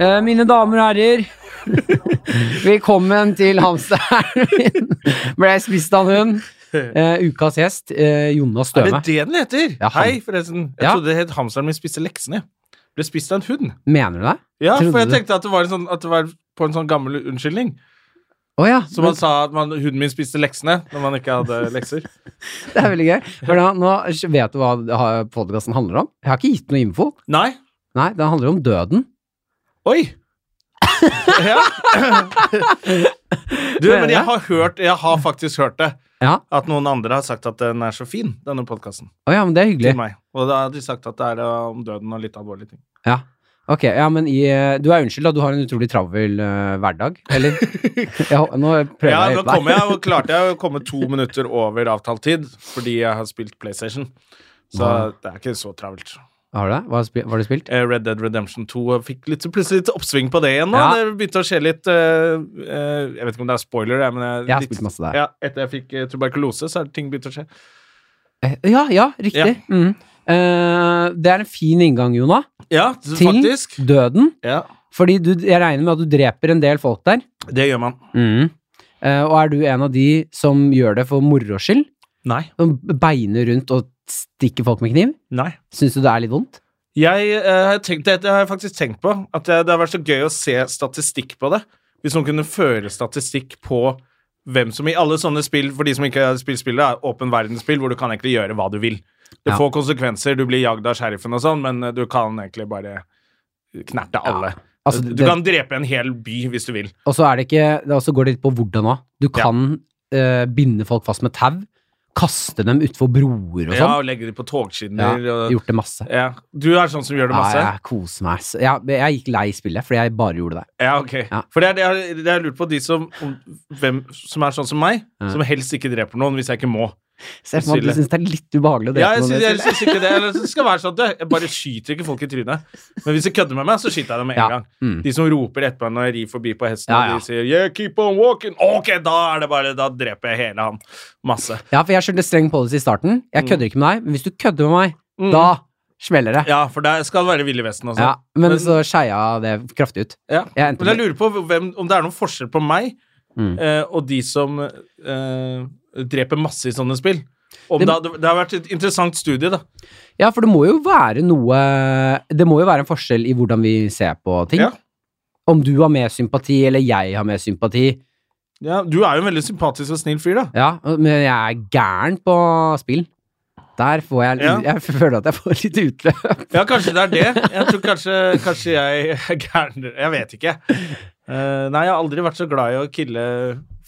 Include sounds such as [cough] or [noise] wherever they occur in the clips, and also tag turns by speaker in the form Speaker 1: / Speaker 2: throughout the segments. Speaker 1: Eh, mine damer og
Speaker 2: [laughs]
Speaker 1: herrer, velkommen til hamsteren min. Ble spist av en hund. Eh, ukas gjest, eh, Jonas
Speaker 2: Er det
Speaker 1: Støme.
Speaker 2: det den heter?
Speaker 1: Ja, ham-
Speaker 2: Hei, forresten. Jeg
Speaker 1: Ja.
Speaker 2: trodde det het hamsteren min spiste leksene. Ble spist av en hund.
Speaker 1: Mener du det?
Speaker 2: Ja,
Speaker 1: Trodde
Speaker 2: for jeg
Speaker 1: du?
Speaker 2: tenkte at det var, en sånn, at det var på en sånn gammel unnskyldning.
Speaker 1: Å ja.
Speaker 2: Så man sa at man, hunden min spiste leksene når man ikke
Speaker 1: [laughs]
Speaker 2: hadde lekser.
Speaker 1: Det er veldig gøy.
Speaker 2: [laughs]
Speaker 1: Hør da, nå vet du hva podkasten handler om. Jeg har ikke gitt noe info.
Speaker 2: Nei.
Speaker 1: Nei, den handler om døden.
Speaker 2: Oi!
Speaker 1: [laughs]
Speaker 2: ja. Du,
Speaker 1: Mener
Speaker 2: men
Speaker 1: jeg?
Speaker 2: jeg har hørt Jeg har faktisk hørt det.
Speaker 1: Ja.
Speaker 2: At noen andre har sagt at den er så fin, denne podkasten.
Speaker 1: Å ja, men det er hyggelig.
Speaker 2: Til meg. Og da har de sagt at det er eh, om døden og litt alvorlige ting.
Speaker 1: Ja. Ok, ja, men i, eh, du er unnskyldt, da. Du har en utrolig travel eh, hverdag,
Speaker 2: [laughs]
Speaker 1: eller? Ja, nå prøver
Speaker 2: Ja,
Speaker 1: jeg å
Speaker 2: nå
Speaker 1: hjelpe
Speaker 2: kom
Speaker 1: deg.
Speaker 2: jeg, og klarte jeg å komme to minutter over avtalt tid fordi jeg har spilt PlayStation. Så
Speaker 1: Ja.
Speaker 2: det er ikke så travelt.
Speaker 1: Har du det? Hva har spi- hva har du spilt?
Speaker 2: Eh, Red Dead Redemption 2 fikk litt, plutselig litt oppsving på det igjen. nå
Speaker 1: Ja.
Speaker 2: Det begynte å skje litt eh, eh, Jeg vet ikke om det er spoiler, jeg, men jeg,
Speaker 1: Jeg har
Speaker 2: litt,
Speaker 1: spilt masse der.
Speaker 2: ja, Etter jeg fikk eh, tuberkulose, så har ting begynt å skje.
Speaker 1: Eh, Ja, ja, riktig. Mhm. Eh, det er en fin inngang, Jona,
Speaker 2: Ja,
Speaker 1: Til?
Speaker 2: Mm, faktisk.
Speaker 1: døden.
Speaker 2: Ja,
Speaker 1: Fordi du, jeg regner med at du dreper en del folk der.
Speaker 2: Det gjør man.
Speaker 1: Eh, og er du en av de som gjør det for moro skyld?
Speaker 2: Nei.
Speaker 1: Som beiner rundt og stikker folk med kniv?
Speaker 2: Nei.
Speaker 1: Syns du det er litt vondt?
Speaker 2: Jeg eh, har tenkt, det har jeg faktisk tenkt på. At det, det har vært så gøy å se statistikk på det. Hvis noen kunne føre statistikk på hvem som i alle sånne spill For de som ikke har spilt spillet, er åpen verdensspill hvor du kan egentlig gjøre hva du vil. Det
Speaker 1: Ja.
Speaker 2: får konsekvenser, du blir jagd av sheriffen og sånn, men eh, du kan egentlig bare knerte alle.
Speaker 1: Altså,
Speaker 2: du
Speaker 1: det,
Speaker 2: kan drepe en hel by hvis du vil.
Speaker 1: Og så er det ikke det- Og så går det litt på hvordan òg. Du kan eh, binde folk fast med tau, kaste dem utfor broer og
Speaker 2: Ja,
Speaker 1: sånn.
Speaker 2: og legge dem på
Speaker 1: Ja,
Speaker 2: togskinner. og,
Speaker 1: gjort det masse.
Speaker 2: ja. Du er sånn som gjør det masse?
Speaker 1: Ja, jeg koser meg. ass. Jeg, jeg gikk lei spillet fordi jeg bare gjorde det.
Speaker 2: Ja, ok.
Speaker 1: Ja.
Speaker 2: For det er det jeg- det jeg har lurt på, de som, om, hvem, som er sånn som meg,
Speaker 1: Ja.
Speaker 2: som helst ikke dreper noen hvis jeg ikke må.
Speaker 1: Se for meg at du
Speaker 2: Silje.
Speaker 1: syns det er litt ubehagelig å drepe
Speaker 2: Ja, jeg
Speaker 1: noen.
Speaker 2: syns,
Speaker 1: med
Speaker 2: jeg
Speaker 1: spillet.
Speaker 2: syns ikke det. Eller det skal være sånn at du- jeg bare skyter ikke folk i trynet. Men hvis de kødder med meg, så skyter jeg dem med en
Speaker 1: Ja.
Speaker 2: gang.
Speaker 1: Mm.
Speaker 2: De som roper etter meg når jeg rir forbi på hesten,
Speaker 1: Ja, ja.
Speaker 2: og de sier 'yeah, keep on walking', ok, da er det bare Da dreper jeg hele han. Masse.
Speaker 1: Ja, for jeg skjønte streng policy i starten. Jeg kødder ikke med deg, men hvis du kødder med meg,
Speaker 2: Mm.
Speaker 1: da smeller det.
Speaker 2: Ja, for der skal det være Ville Vesten også.
Speaker 1: Ja, men
Speaker 2: Men-
Speaker 1: så skeia det kraftig ut.
Speaker 2: Ja.
Speaker 1: Jeg endte
Speaker 2: Men jeg
Speaker 1: med
Speaker 2: lurer på hvem, om det er noen forskjell på meg
Speaker 1: Mm.
Speaker 2: eh, og de som eh, dreper masse i sånne spill. Om
Speaker 1: Det-
Speaker 2: det, hadde- det har vært et interessant studie, da.
Speaker 1: Ja, for det må jo være noe Det må jo være en forskjell i hvordan vi ser på ting.
Speaker 2: Ja.
Speaker 1: Om du har mer sympati, eller jeg har mer sympati.
Speaker 2: Ja, du er jo en veldig sympatisk og snill fyr, da.
Speaker 1: Ja, men jeg er gæren på spill. Der får jeg
Speaker 2: Ja.
Speaker 1: Jeg føler at jeg får litt utløp.
Speaker 2: Ja, kanskje det er det. Jeg tror kanskje, kanskje jeg er gæren. Jeg vet ikke. Eh, nei, jeg har aldri vært så glad i å kille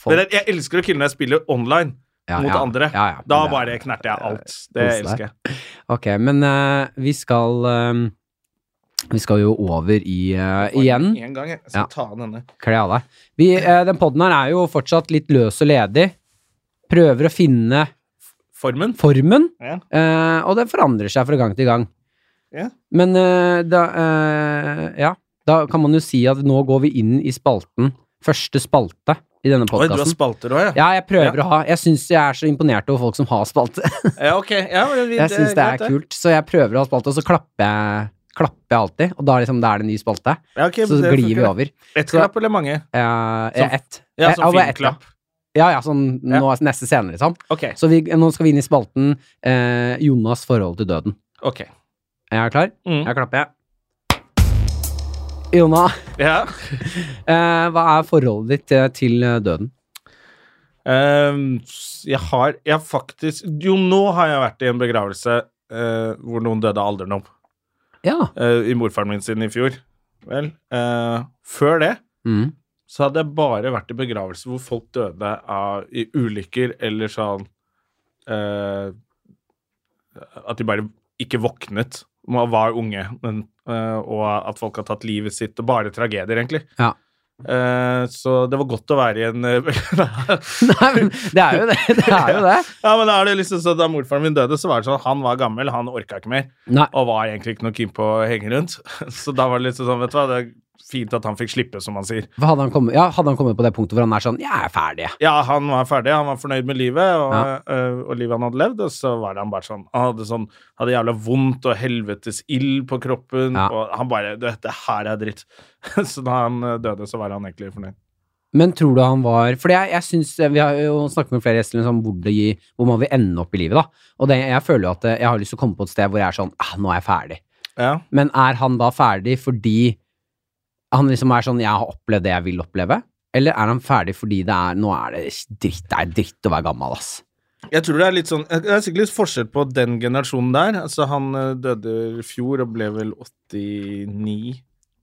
Speaker 1: Folk.
Speaker 2: Men jeg, jeg elsker å kille når jeg spiller online
Speaker 1: Ja,
Speaker 2: mot
Speaker 1: ja.
Speaker 2: andre.
Speaker 1: Ja, ja, men
Speaker 2: Da
Speaker 1: det er-
Speaker 2: bare knerter jeg alt. Det
Speaker 1: Kos deg.
Speaker 2: elsker jeg.
Speaker 1: Ok, men eh, vi skal eh, Vi skal jo over i eh, igjen
Speaker 2: En gang, jeg skal
Speaker 1: Ja.
Speaker 2: ta av denne.
Speaker 1: Kle av deg. Vi, eh, den poden her er jo fortsatt litt løs og ledig. Prøver å finne
Speaker 2: Formen.
Speaker 1: formen,
Speaker 2: Ja.
Speaker 1: eh, og den forandrer seg fra gang til gang.
Speaker 2: Ja.
Speaker 1: Men eh, da eh, Ja, da kan man jo si at nå går vi inn i spalten. Første spalte i denne
Speaker 2: Oi, du har
Speaker 1: podkasten.
Speaker 2: spalter òg, ja.
Speaker 1: Ja, jeg prøver å ha Jeg syns jeg er så imponert over folk som har spalte. [laughs]
Speaker 2: ja? Ok. Ja, men vi-
Speaker 1: Jeg syns det er
Speaker 2: greit, det.
Speaker 1: kult, så jeg prøver å ha spalte, og så klapper jeg, klapper jeg alltid. Og da liksom, da er det en ny spalte.
Speaker 2: Ja, ok,
Speaker 1: Så
Speaker 2: det
Speaker 1: glir vi
Speaker 2: funker.
Speaker 1: over.
Speaker 2: Ett klapp eller mange?
Speaker 1: Eh,
Speaker 2: Som-
Speaker 1: ett.
Speaker 2: Ja,
Speaker 1: Eh,
Speaker 2: som
Speaker 1: over ett,
Speaker 2: filmklapp.
Speaker 1: Ja, ja, sånn
Speaker 2: Ja.
Speaker 1: Nå, neste scene, liksom.
Speaker 2: Ok.
Speaker 1: Så vi, nå skal vi inn i spalten eh, Jonas' forhold til døden.
Speaker 2: ok.
Speaker 1: Er jeg klar?
Speaker 2: Mm.
Speaker 1: Jeg klapper, jeg. Jona,
Speaker 2: Ja.
Speaker 1: eh, hva er forholdet ditt eh, til eh, døden?
Speaker 2: Ehm, jeg har jeg har faktisk Jo, nå har jeg vært i en begravelse eh, hvor noen døde av alderdom.
Speaker 1: Ja.
Speaker 2: eh, I morfaren min sin i fjor. Vel. eh, før det
Speaker 1: Mm. [laughs]
Speaker 2: så hadde jeg bare vært i begravelser hvor folk døde av i ulykker eller sånn eh, At de bare ikke våknet. Man var unge, men, eh, og at folk har tatt livet sitt. Og bare tragedier, egentlig.
Speaker 1: Ja.
Speaker 2: Eh, så det var godt å være i en [laughs] eh,
Speaker 1: Nei, men det er jo det. Det
Speaker 2: [laughs]
Speaker 1: er jo det.
Speaker 2: Ja, men da er det liksom sånn Da morfaren min døde, så var det sånn han var gammel, han orka ikke mer,
Speaker 1: Nei.
Speaker 2: [laughs] og var egentlig ikke noe keen på å henge rundt. Så da var det liksom sånn, vet du hva, det fint at han fikk slippe, som han sier.
Speaker 1: For Hadde han, kommet, ja, hadde han kommet på det punktet hvor han er sånn Jeg er ferdig, jeg.
Speaker 2: Ja, han var ferdig, han var fornøyd med livet og, øh, og livet han hadde levd, og så var det han bare sånn Han hadde sånn hadde jævla vondt og helvetes ild på kroppen,
Speaker 1: Ja.
Speaker 2: og han bare Dette her er dritt. [laughs] så da han øh, døde, så var han egentlig fornøyd.
Speaker 1: Men tror du han var Fordi jeg, jeg synes, Vi har jo snakket med flere gjester liksom, om hvor, det, gi- hvor man vil ende opp i livet. da Og det, jeg føler jo at eh, jeg har lyst til å komme på et sted hvor jeg er sånn ah, Nå er jeg ferdig.
Speaker 2: Ja.
Speaker 1: Men er han da ferdig fordi han liksom er sånn 'Jeg har opplevd det jeg vil oppleve'? Eller er han ferdig fordi det er Nå er det dritt, det er dritt å være gammel, ass.
Speaker 2: Jeg tror det er litt sånn Det er sikkert litt forskjell på den generasjonen der. Altså, han øh, døde i fjor og ble vel 89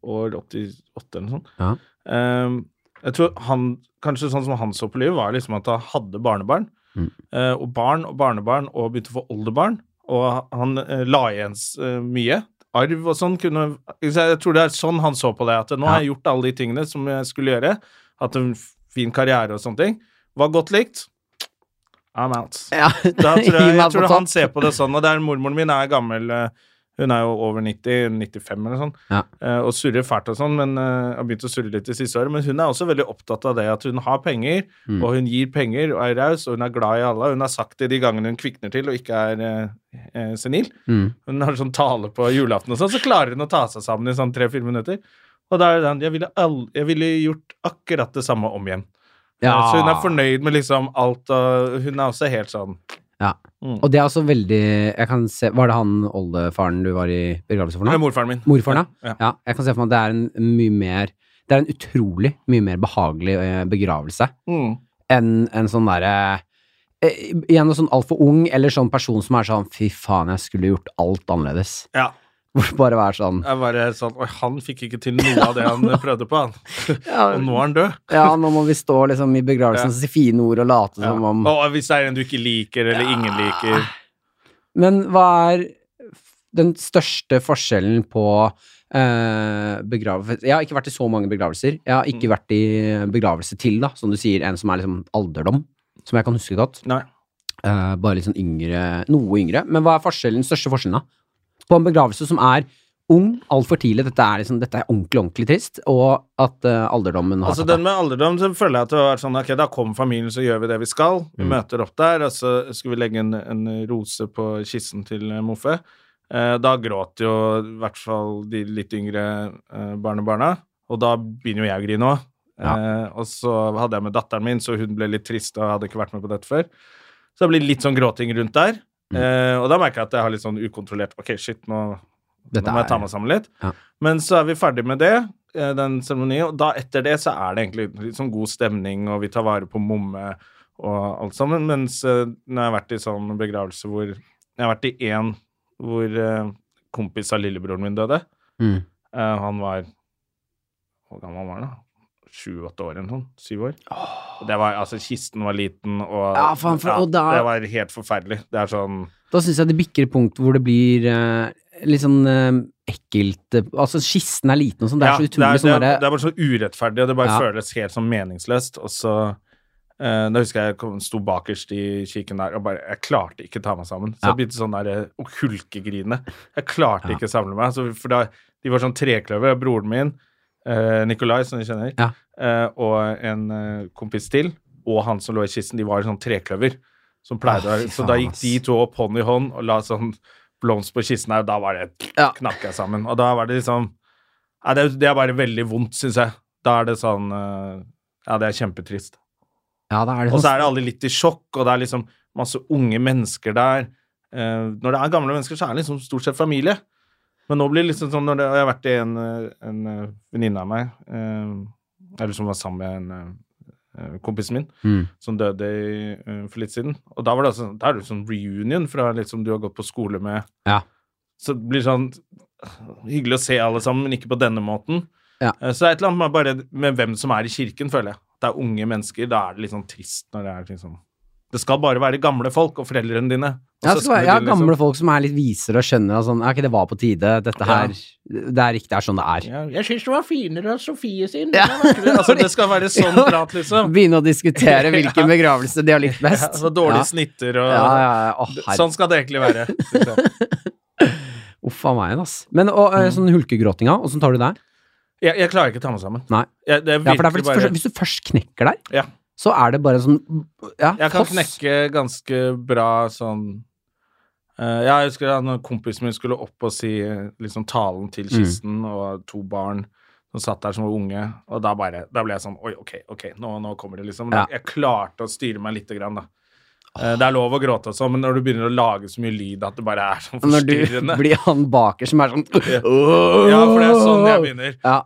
Speaker 2: år, 88 eller noe sånt.
Speaker 1: Ja.
Speaker 2: Ehm, jeg tror han Kanskje sånn som han så på livet, var liksom at han hadde barnebarn.
Speaker 1: Mm.
Speaker 2: eh, og barn og barnebarn, og begynte å få oldebarn. Og han eh, la igjen s- eh, mye. Arv og sånn kunne ikke sant, Jeg tror det er sånn han så på det. At nå
Speaker 1: Ja.
Speaker 2: har jeg gjort alle de tingene som jeg skulle gjøre. Hatt en f- fin karriere og sånne ting. Var godt likt. I'm out.
Speaker 1: Ja. [laughs]
Speaker 2: Da tror
Speaker 1: Gi
Speaker 2: jeg,
Speaker 1: meg
Speaker 2: jeg tror
Speaker 1: på
Speaker 2: han
Speaker 1: topp.
Speaker 2: ser på det sånn, og det er mormoren min er gammel, eh, hun er jo over 90, 95 eller sånn,
Speaker 1: Ja.
Speaker 2: eh, og surrer fælt og sånn, men eh, har begynt å surre litt det siste året, men hun er også veldig opptatt av det, at hun har penger,
Speaker 1: Mm.
Speaker 2: og hun gir penger, og er raus, og hun er glad i alle, hun har sagt det de gangene hun kvikner til, og ikke er eh, eh, senil,
Speaker 1: Mm.
Speaker 2: hun har sånn tale på julaften og sånn, så klarer hun å ta seg sammen i sånn tre-fire minutter, og da er det sånn, jeg ville, all- jeg ville gjort akkurat det samme om igjen.
Speaker 1: Ja.
Speaker 2: Så hun er fornøyd med liksom alt, og hun er også helt sånn,
Speaker 1: Ja.
Speaker 2: Mm.
Speaker 1: Og det er også veldig jeg kan se, Var det han oldefaren du var i begravelse for
Speaker 2: Det
Speaker 1: nå?
Speaker 2: er morfaren min.
Speaker 1: Morfaren,
Speaker 2: Ja.
Speaker 1: ja. ja. Jeg kan se for meg at det er en mye mer Det er en utrolig mye mer behagelig eh, begravelse
Speaker 2: Mm.
Speaker 1: enn en sånn derre eh, Igjen en sånn altfor ung eller sånn person som er sånn Fy faen, jeg skulle gjort alt annerledes. [laughs]
Speaker 2: Ja.
Speaker 1: Hvor det bare være sånn
Speaker 2: Jeg bare sånn Oi, han fikk ikke til noe av
Speaker 1: [laughs]
Speaker 2: det han prøvde på, han. Og nå er han død.
Speaker 1: Ja, nå må vi stå liksom i
Speaker 2: Ja.
Speaker 1: begravelsen og si fine ord og late
Speaker 2: Ja.
Speaker 1: som om
Speaker 2: Og hvis det er en du ikke liker, eller ingen liker
Speaker 1: Men hva er f- den største forskjellen på eh, begravelse Jeg har ikke vært i så mange begravelser. Jeg har
Speaker 2: Mm.
Speaker 1: ikke vært i begravelse til, da, som du sier, en som er liksom alderdom. Som jeg kan huske godt.
Speaker 2: Nei.
Speaker 1: Eh, bare litt sånn yngre, noe yngre. Men hva er forskjellen, den største forskjellen, da? På en begravelse som er ung, altfor tidlig, dette er, liksom, dette er ordentlig, ordentlig trist, og at eh, alderdommen har
Speaker 2: Altså
Speaker 1: tatt
Speaker 2: Den med alderdom så føler jeg at det har vært sånn Ok, da kommer familien, så gjør vi det vi skal. Vi
Speaker 1: Mm.
Speaker 2: møter opp der, og så skal vi legge en, en rose på kissen til eh, Moffe. Eh, da gråter jo i hvert fall de litt yngre eh, barnebarna, og da begynner jo jeg å grine òg. Eh, og så hadde jeg med datteren min, så hun ble litt trist og hadde ikke vært med på dette før. Så det blir litt sånn gråting rundt der.
Speaker 1: Mm.
Speaker 2: Eh, og da merker jeg at jeg har litt sånn ukontrollert Ok, shit, nå, nå
Speaker 1: Dette
Speaker 2: må jeg ta
Speaker 1: er-
Speaker 2: meg sammen litt.
Speaker 1: Ja.
Speaker 2: Men så er vi ferdig med det, eh, den seremonien, og da etter det så er det egentlig litt sånn god stemning, og vi tar vare på momme og alt sammen, mens eh, når jeg har vært i sånn begravelse hvor Jeg har vært i én hvor eh, kompis av lillebroren min døde.
Speaker 1: Mm.
Speaker 2: Eh, han var Hvor gammel var han da? Sju-åtte år eller noe sånt? Syv år? Og Det var, altså, kisten var liten, og,
Speaker 1: Ja, faen, for- og da-
Speaker 2: det var helt forferdelig. Det er sånn
Speaker 1: Da syns jeg det bikker et punkt hvor det blir eh, litt sånn eh, ekkelt eh, Altså, skissen er liten og sånn. Det er
Speaker 2: Ja,
Speaker 1: så utrolig
Speaker 2: det,
Speaker 1: sånn
Speaker 2: er, det
Speaker 1: derre
Speaker 2: er bare så urettferdig, og det bare
Speaker 1: Ja.
Speaker 2: føles helt sånn meningsløst. Og så eh, Da husker jeg jeg kom- sto bakerst i kirken der og bare Jeg klarte ikke ta meg sammen. Så
Speaker 1: Ja.
Speaker 2: jeg begynte sånn der eh, å hulkegrine. Jeg klarte
Speaker 1: Ja.
Speaker 2: ikke samle meg. Så, for da De var sånn trekløver. og Broren min, eh, Nikolai, som du kjenner,
Speaker 1: Ja.
Speaker 2: eh, og en eh, kompis til, og han som lå i kisten, de var i sånn trekløver. Som pleide
Speaker 1: Å,
Speaker 2: å
Speaker 1: fy
Speaker 2: Så da
Speaker 1: faen,
Speaker 2: gikk
Speaker 1: ass.
Speaker 2: de to opp hånd i hånd og la sånn blomst på kisten her, og da var det
Speaker 1: Ja.
Speaker 2: knakk jeg sammen. Og da var det liksom Nei, det, er- det er bare veldig vondt, syns jeg. Da er det sånn eh, Ja, det er kjempetrist.
Speaker 1: Ja, da er det
Speaker 2: Og så
Speaker 1: sånn.
Speaker 2: er det alle litt i sjokk, og det er liksom masse unge mennesker der. Eh, når det er gamle mennesker, så er det liksom stort sett familie. Men nå blir det liksom sånn når det, og Jeg har vært i en, eh, en eh, venninne av meg, eh, eller som var sammen med en eh, eh, kompisen min,
Speaker 1: Mm.
Speaker 2: som døde i, eh, for litt siden. Og da var det altså, da er det jo sånn reunion fra liksom du har gått på skole med.
Speaker 1: Ja.
Speaker 2: Så det blir sånn hyggelig å se alle sammen, men ikke på denne måten.
Speaker 1: Ja.
Speaker 2: Eh, Så det er et eller annet med, bare, med hvem som er i kirken, føler jeg. Det er unge mennesker, da er det litt sånn trist når det er liksom Det skal bare være gamle folk og foreldrene dine. Og
Speaker 1: Ja, det skal
Speaker 2: søsknene
Speaker 1: være, ja,
Speaker 2: dine, liksom.
Speaker 1: gamle folk som er litt visere og skjønner at sånn, ja, ok, det var på tide, dette
Speaker 2: Ja.
Speaker 1: her, det er riktig, det er sånn det er.
Speaker 2: ja, Jeg syns det var finere av Sofie sin.
Speaker 1: Ja.
Speaker 2: Det, var vakrere. altså, det skal være sånn
Speaker 1: Ja.
Speaker 2: prat, liksom.
Speaker 1: Begynne å
Speaker 2: [laughs]
Speaker 1: diskutere hvilken begravelse de har likt
Speaker 2: Ja,
Speaker 1: best.
Speaker 2: så dårlige
Speaker 1: ja.
Speaker 2: snitter og
Speaker 1: Ja, ja, ja. Å, herre-
Speaker 2: Sånn skal det egentlig være. synes jeg. Mm.
Speaker 1: Uff a meg, ass. Men og, eh, sånn hulkegråtinga, åssen tar du det?
Speaker 2: Jeg, jeg klarer ikke å ta meg sammen.
Speaker 1: Nei.
Speaker 2: Jeg, det er
Speaker 1: Ja, for det er
Speaker 2: virkelig
Speaker 1: faktisk,
Speaker 2: bare
Speaker 1: Hvis du først knekker der,
Speaker 2: Ja.
Speaker 1: så er det bare en sånn ja,
Speaker 2: Jeg kan
Speaker 1: foss.
Speaker 2: knekke ganske bra sånn eh, Jeg husker da når kompisen min skulle opp og si eh, liksom talen
Speaker 1: Mm.
Speaker 2: til kisten, og to barn som satt der som var unge, og da bare Da ble jeg sånn Oi, OK, ok, nå, nå kommer det, liksom.
Speaker 1: Ja.
Speaker 2: Jeg klarte å styre meg lite grann, da. Eh, Det er lov å gråte og sånn, men når du begynner å lage så mye lyd at det bare er sånn
Speaker 1: Når du
Speaker 2: forstyrrende
Speaker 1: blir han baker som er sånn
Speaker 2: Ja, for det er sånn jeg begynner.
Speaker 1: Ja,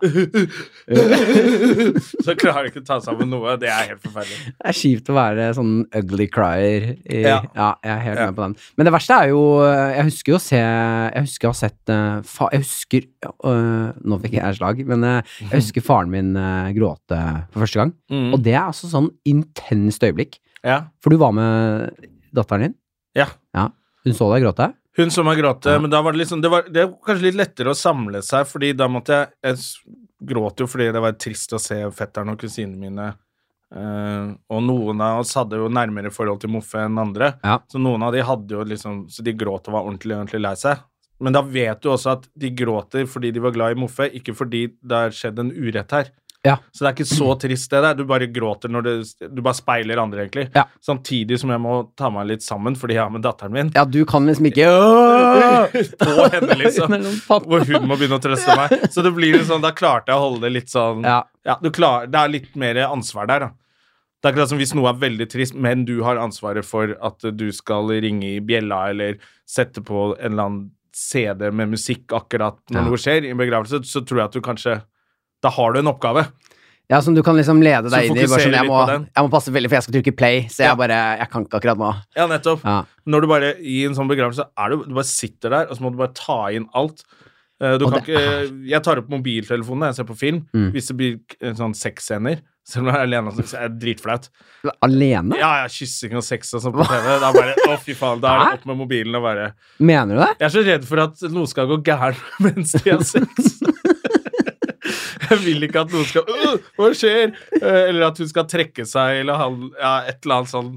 Speaker 2: [laughs] Så klarer jeg ikke å ta sammen noe. Det er helt forferdelig.
Speaker 1: Det er kjipt å være sånn ugly crier. I, ja.
Speaker 2: Ja.
Speaker 1: jeg er helt
Speaker 2: Ja.
Speaker 1: med på den. Men det verste er jo Jeg husker jo å se Jeg husker jeg har sett eh, fa, Jeg husker øh, Nå fikk jeg slag, men eh,
Speaker 2: [laughs]
Speaker 1: jeg husker faren min eh, gråte for første gang.
Speaker 2: Mm.
Speaker 1: Og det er altså sånn intenst øyeblikk.
Speaker 2: Ja.
Speaker 1: For du var med datteren din.
Speaker 2: ja.
Speaker 1: Hun så deg gråte.
Speaker 2: Hun så meg gråte,
Speaker 1: Ja.
Speaker 2: men da var det liksom det var, det var kanskje litt lettere å samle seg, fordi da måtte jeg Jeg s- gråt jo fordi det var trist å se fetteren og kusinene mine. eh, og noen av oss hadde jo nærmere forhold til Moffe enn andre,
Speaker 1: Ja.
Speaker 2: så noen av de hadde jo liksom Så de gråt og var ordentlig, ordentlig lei seg. Men da vet du også at de gråter fordi de var glad i Moffe, ikke fordi det har skjedd en urett her.
Speaker 1: Ja.
Speaker 2: Så det er ikke så trist, det der. Du bare gråter når du Du bare speiler andre, egentlig.
Speaker 1: Ja.
Speaker 2: Samtidig som jeg må ta meg litt sammen fordi jeg har med datteren min.
Speaker 1: Ja, du kan liksom ikke [laughs] «Åh!»
Speaker 2: på henne, liksom.
Speaker 1: Det er sånn, faen.
Speaker 2: Hvor hun må begynne å trøste meg. Så det blir litt sånn, da klarte jeg å holde det litt sånn
Speaker 1: Ja.
Speaker 2: Ja, du klarer, Det er litt mer ansvar der, da. Det er akkurat som hvis noe er veldig trist, men du har ansvaret for at du skal ringe i bjella eller sette på en eller annen CD med musikk akkurat når
Speaker 1: Ja.
Speaker 2: noe skjer i en begravelse, så tror jeg at du kanskje Da har du en oppgave.
Speaker 1: Ja, som du kan liksom lede
Speaker 2: Så
Speaker 1: deg inn i. Bare
Speaker 2: fokuserer
Speaker 1: sånn, jeg,
Speaker 2: litt
Speaker 1: må,
Speaker 2: på den.
Speaker 1: jeg må passe veldig, for jeg skal trykke play, så jeg
Speaker 2: Ja.
Speaker 1: bare Jeg kan ikke akkurat nå.
Speaker 2: Ja, nettopp.
Speaker 1: Ja.
Speaker 2: Når du bare i en sånn begravelse er du, du bare sitter der, og så må du bare ta inn alt. Eh, Du
Speaker 1: Og
Speaker 2: kan
Speaker 1: det
Speaker 2: ikke, jeg tar opp mobiltelefonen når jeg ser på film.
Speaker 1: Mm.
Speaker 2: Hvis det blir eh, sånn sexscener, selv om jeg er alene, så er det dritflaut.
Speaker 1: Alene?
Speaker 2: Ja, ja, kyssing og sex og sånn på TV. Da bare, å fy faen, da er det opp med mobilen og bare
Speaker 1: Mener du det?
Speaker 2: Jeg er så redd for at noe skal gå gærent [laughs] mens de har sex. Jeg vil ikke at noen skal «Øh, Hva skjer? Eh, Eller at hun skal trekke seg, eller han, ja, et eller annet sånn.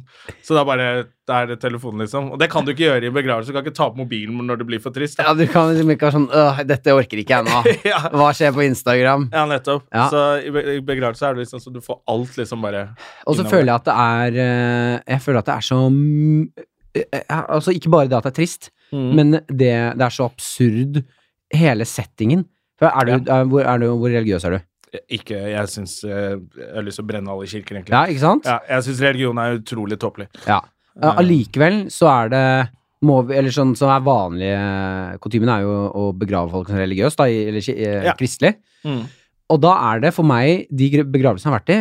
Speaker 2: Så da bare Da er det telefonen, liksom. Og det kan du ikke gjøre i en begravelse. Du kan ikke ta opp mobilen når det blir for trist.
Speaker 1: Ja,
Speaker 2: Da.
Speaker 1: du kan liksom ikke ha sånn «Åh, dette orker ikke jeg nå.
Speaker 2: [laughs] Ja,
Speaker 1: Hva skjer på Instagram?
Speaker 2: ja nettopp.
Speaker 1: Ja.
Speaker 2: Så i be- i begravelse er det liksom så du får alt liksom bare
Speaker 1: Og så
Speaker 2: Innover.
Speaker 1: føler jeg at det er eh, Jeg føler at det er så m- eh, eh, Altså, ikke bare det at det er trist,
Speaker 2: mm.
Speaker 1: men det, det er så absurd, hele settingen. For er du, er, hvor, er du, hvor religiøs er du?
Speaker 2: Ikke Jeg syns eh, Jeg har lyst til å brenne alle i kirken, egentlig.
Speaker 1: Ja, ikke sant?
Speaker 2: Ja, jeg syns religion er utrolig tåpelig.
Speaker 1: Ja. Eh, Allikevel så er det må vi, eller sånn som er vanlige eh, Kutymen er jo å begrave folk som religiøst, da, i- eller ki- eh,
Speaker 2: Ja.
Speaker 1: kristelig.
Speaker 2: Mm.
Speaker 1: Og da er det for meg, de gre- begravelsene jeg har vært i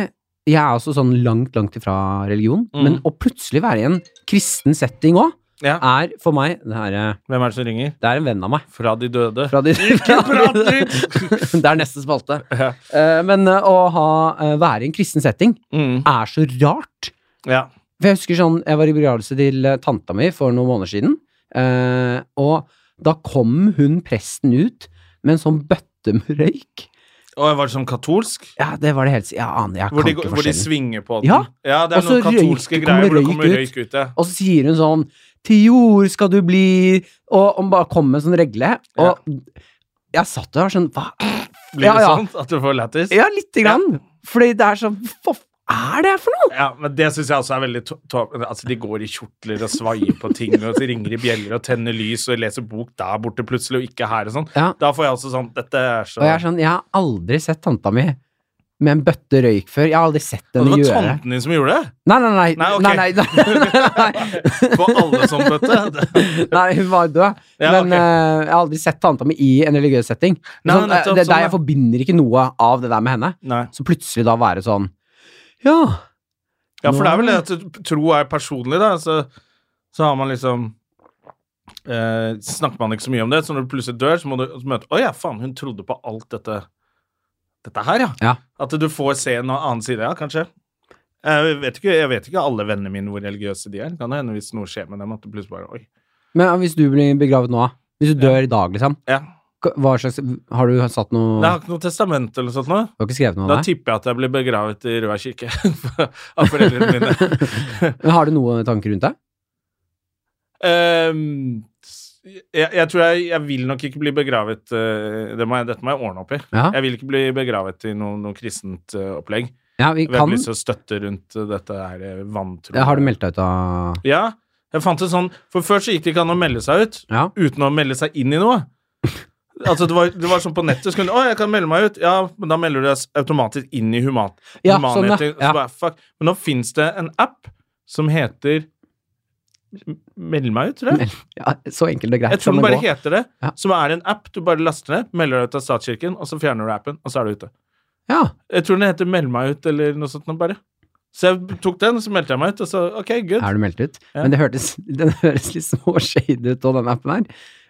Speaker 1: Jeg er også sånn langt, langt ifra religion,
Speaker 2: Mm.
Speaker 1: men å plutselig være i en kristen setting òg,
Speaker 2: Ja.
Speaker 1: er for meg det er, eh,
Speaker 2: Hvem er det som ringer?
Speaker 1: det er en venn av meg.
Speaker 2: Fra de døde.
Speaker 1: Fra de,
Speaker 2: Ikke prat dritt!
Speaker 1: [laughs] det er neste spalte.
Speaker 2: Ja.
Speaker 1: Eh, men eh, å ha, eh, være i en kristen setting
Speaker 2: Mm.
Speaker 1: er så rart.
Speaker 2: Ja.
Speaker 1: For jeg husker sånn, jeg var i begravelse til eh, tanta mi for noen måneder siden, eh, og da kom hun presten ut med en sånn bøtte med røyk.
Speaker 2: Og var det sånn katolsk?
Speaker 1: Ja, det var det helt Jeg aner, jeg
Speaker 2: Hvor
Speaker 1: kan
Speaker 2: de,
Speaker 1: ikke
Speaker 2: hvor de
Speaker 1: forskjellen.
Speaker 2: svinger på den?
Speaker 1: Ja.
Speaker 2: det er
Speaker 1: Og så
Speaker 2: noen katolske
Speaker 1: røyk-
Speaker 2: greier
Speaker 1: kommer
Speaker 2: hvor
Speaker 1: røyk
Speaker 2: det kommer
Speaker 1: ut.
Speaker 2: røyk ut. Ja.
Speaker 1: Og så sier hun sånn Til jord skal du bli Og hun bare kom med en sånn regle, og jeg satt der og var sånn Hva?
Speaker 2: Blir
Speaker 1: Ja,
Speaker 2: det
Speaker 1: ja.
Speaker 2: sånn at du får lættis?
Speaker 1: Ja, lite grann. Fordi det er sånn Hva er det for noe?
Speaker 2: Ja, men det syns jeg også er veldig to- to- Altså, de går i kjortler og svaier på ting, og så ringer i bjeller og tenner lys og leser bok der borte plutselig, og ikke her og sånn.
Speaker 1: Ja.
Speaker 2: Da får jeg også sånn Dette er så
Speaker 1: Og jeg er sånn Jeg har aldri sett tanta mi med en bøtte røyk før. Jeg har aldri sett
Speaker 2: Og
Speaker 1: henne
Speaker 2: det var
Speaker 1: gjøre det.
Speaker 2: tanten din som gjorde det?
Speaker 1: Nei, nei, nei.
Speaker 2: Nei, ok.
Speaker 1: nei, [laughs] nei, nei, nei.
Speaker 2: På alle sånn, vet du.
Speaker 1: [laughs] Nei, hun var jo død.
Speaker 2: Ja,
Speaker 1: men
Speaker 2: ok.
Speaker 1: eh, jeg har aldri sett tanta mi i en religiøs setting.
Speaker 2: Nei,
Speaker 1: sånn, eh, det
Speaker 2: nettopp,
Speaker 1: er
Speaker 2: sånn,
Speaker 1: der
Speaker 2: ja.
Speaker 1: Jeg forbinder ikke noe av det der med henne.
Speaker 2: Nei.
Speaker 1: Så plutselig da være sånn Ja.
Speaker 2: Ja, for det er vel det at tro er personlig, da. Så, så har man liksom eh, Snakker man ikke så mye om det, så når du plutselig dør, så må du møte Å ja, faen, hun trodde på alt dette Dette her, ja.
Speaker 1: Ja.
Speaker 2: At du får se en annen side, ja, kanskje. Jeg vet ikke, jeg vet ikke alle vennene mine hvor religiøse de er. Det kan hende hvis noe skjer med dem, at du plutselig bare Oi.
Speaker 1: Men hvis du blir begravet nå, hvis du dør i dag, liksom
Speaker 2: Ja.
Speaker 1: k- Hva slags Har du satt noe
Speaker 2: Jeg
Speaker 1: Du
Speaker 2: har ikke noe testament eller sånt nå.
Speaker 1: har ikke skrevet noe av
Speaker 2: Da
Speaker 1: det?
Speaker 2: tipper jeg at jeg blir begravet i Røa kirke [laughs] av foreldrene mine.
Speaker 1: Men har du noen tanker rundt det?
Speaker 2: Ehm, s- jeg, jeg tror jeg, jeg vil nok ikke bli begravet eh, det må jeg, Dette må jeg ordne opp i.
Speaker 1: Ja.
Speaker 2: Jeg vil ikke bli begravet i noe, noe kristent eh, opplegg.
Speaker 1: ja, vi
Speaker 2: Jeg har
Speaker 1: kan
Speaker 2: lyst til å støtte rundt eh, dette her eh, vantro.
Speaker 1: ja, Har du meldt deg ut av
Speaker 2: Ja. Jeg fant det sånn For før så gikk det ikke an å melde seg ut
Speaker 1: Ja.
Speaker 2: uten å melde seg inn i
Speaker 1: [laughs]
Speaker 2: noe. Altså, det var, det var sånn på nettet så kunne du, 'Å, jeg kan melde meg ut.' Ja, men da melder du deg s- automatisk inn i human,
Speaker 1: Ja, sånn, ja.
Speaker 2: humanheter. og så
Speaker 1: Ja.
Speaker 2: bare, fuck. Men nå fins det en app som heter M- Meld meg ut, tror jeg.
Speaker 1: ja, Så enkelt og greit
Speaker 2: Jeg tror
Speaker 1: kan
Speaker 2: den
Speaker 1: det
Speaker 2: bare
Speaker 1: gå.
Speaker 2: heter det.
Speaker 1: Ja.
Speaker 2: Som er en app du bare laster ned, melder deg ut av statskirken, og så fjerner du appen, og så er du ute.
Speaker 1: Ja.
Speaker 2: Jeg tror den heter 'Meld meg ut' eller noe sånt noe bare. Så jeg tok den, så meldte jeg meg ut, og så OK, good.
Speaker 1: Er du meldt ut?
Speaker 2: Ja.
Speaker 1: Men det hørtes, den høres litt småshady ut av den appen her.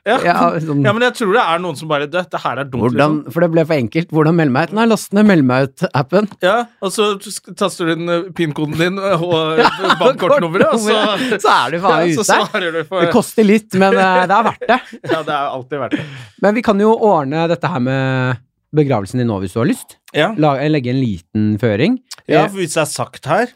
Speaker 2: Ja.
Speaker 1: Ja, sånn,
Speaker 2: Ja, men jeg tror det er noen som bare "Du, Dette her er dumt, liksom.
Speaker 1: hvordan, for det ble for enkelt. Hvordan melde meg ut? Nei, last ned meld meg ut-appen.
Speaker 2: liksom. Ja, og så sk- taster du inn eh, PIN-koden din eh, og eh, [laughs]
Speaker 1: [laughs]
Speaker 2: bankkortnummeret, og så
Speaker 1: Så er du faen
Speaker 2: [laughs] ja, så
Speaker 1: ute.
Speaker 2: svarer du for
Speaker 1: Det koster litt, men eh, det er verdt det.
Speaker 2: Ja, det er alltid verdt det.
Speaker 1: Men vi kan jo ordne dette her med begravelsen din nå, hvis du har lyst.
Speaker 2: Ja.
Speaker 1: La, eh, legge en liten føring. Eh,
Speaker 2: ja, for hvis det er sagt her,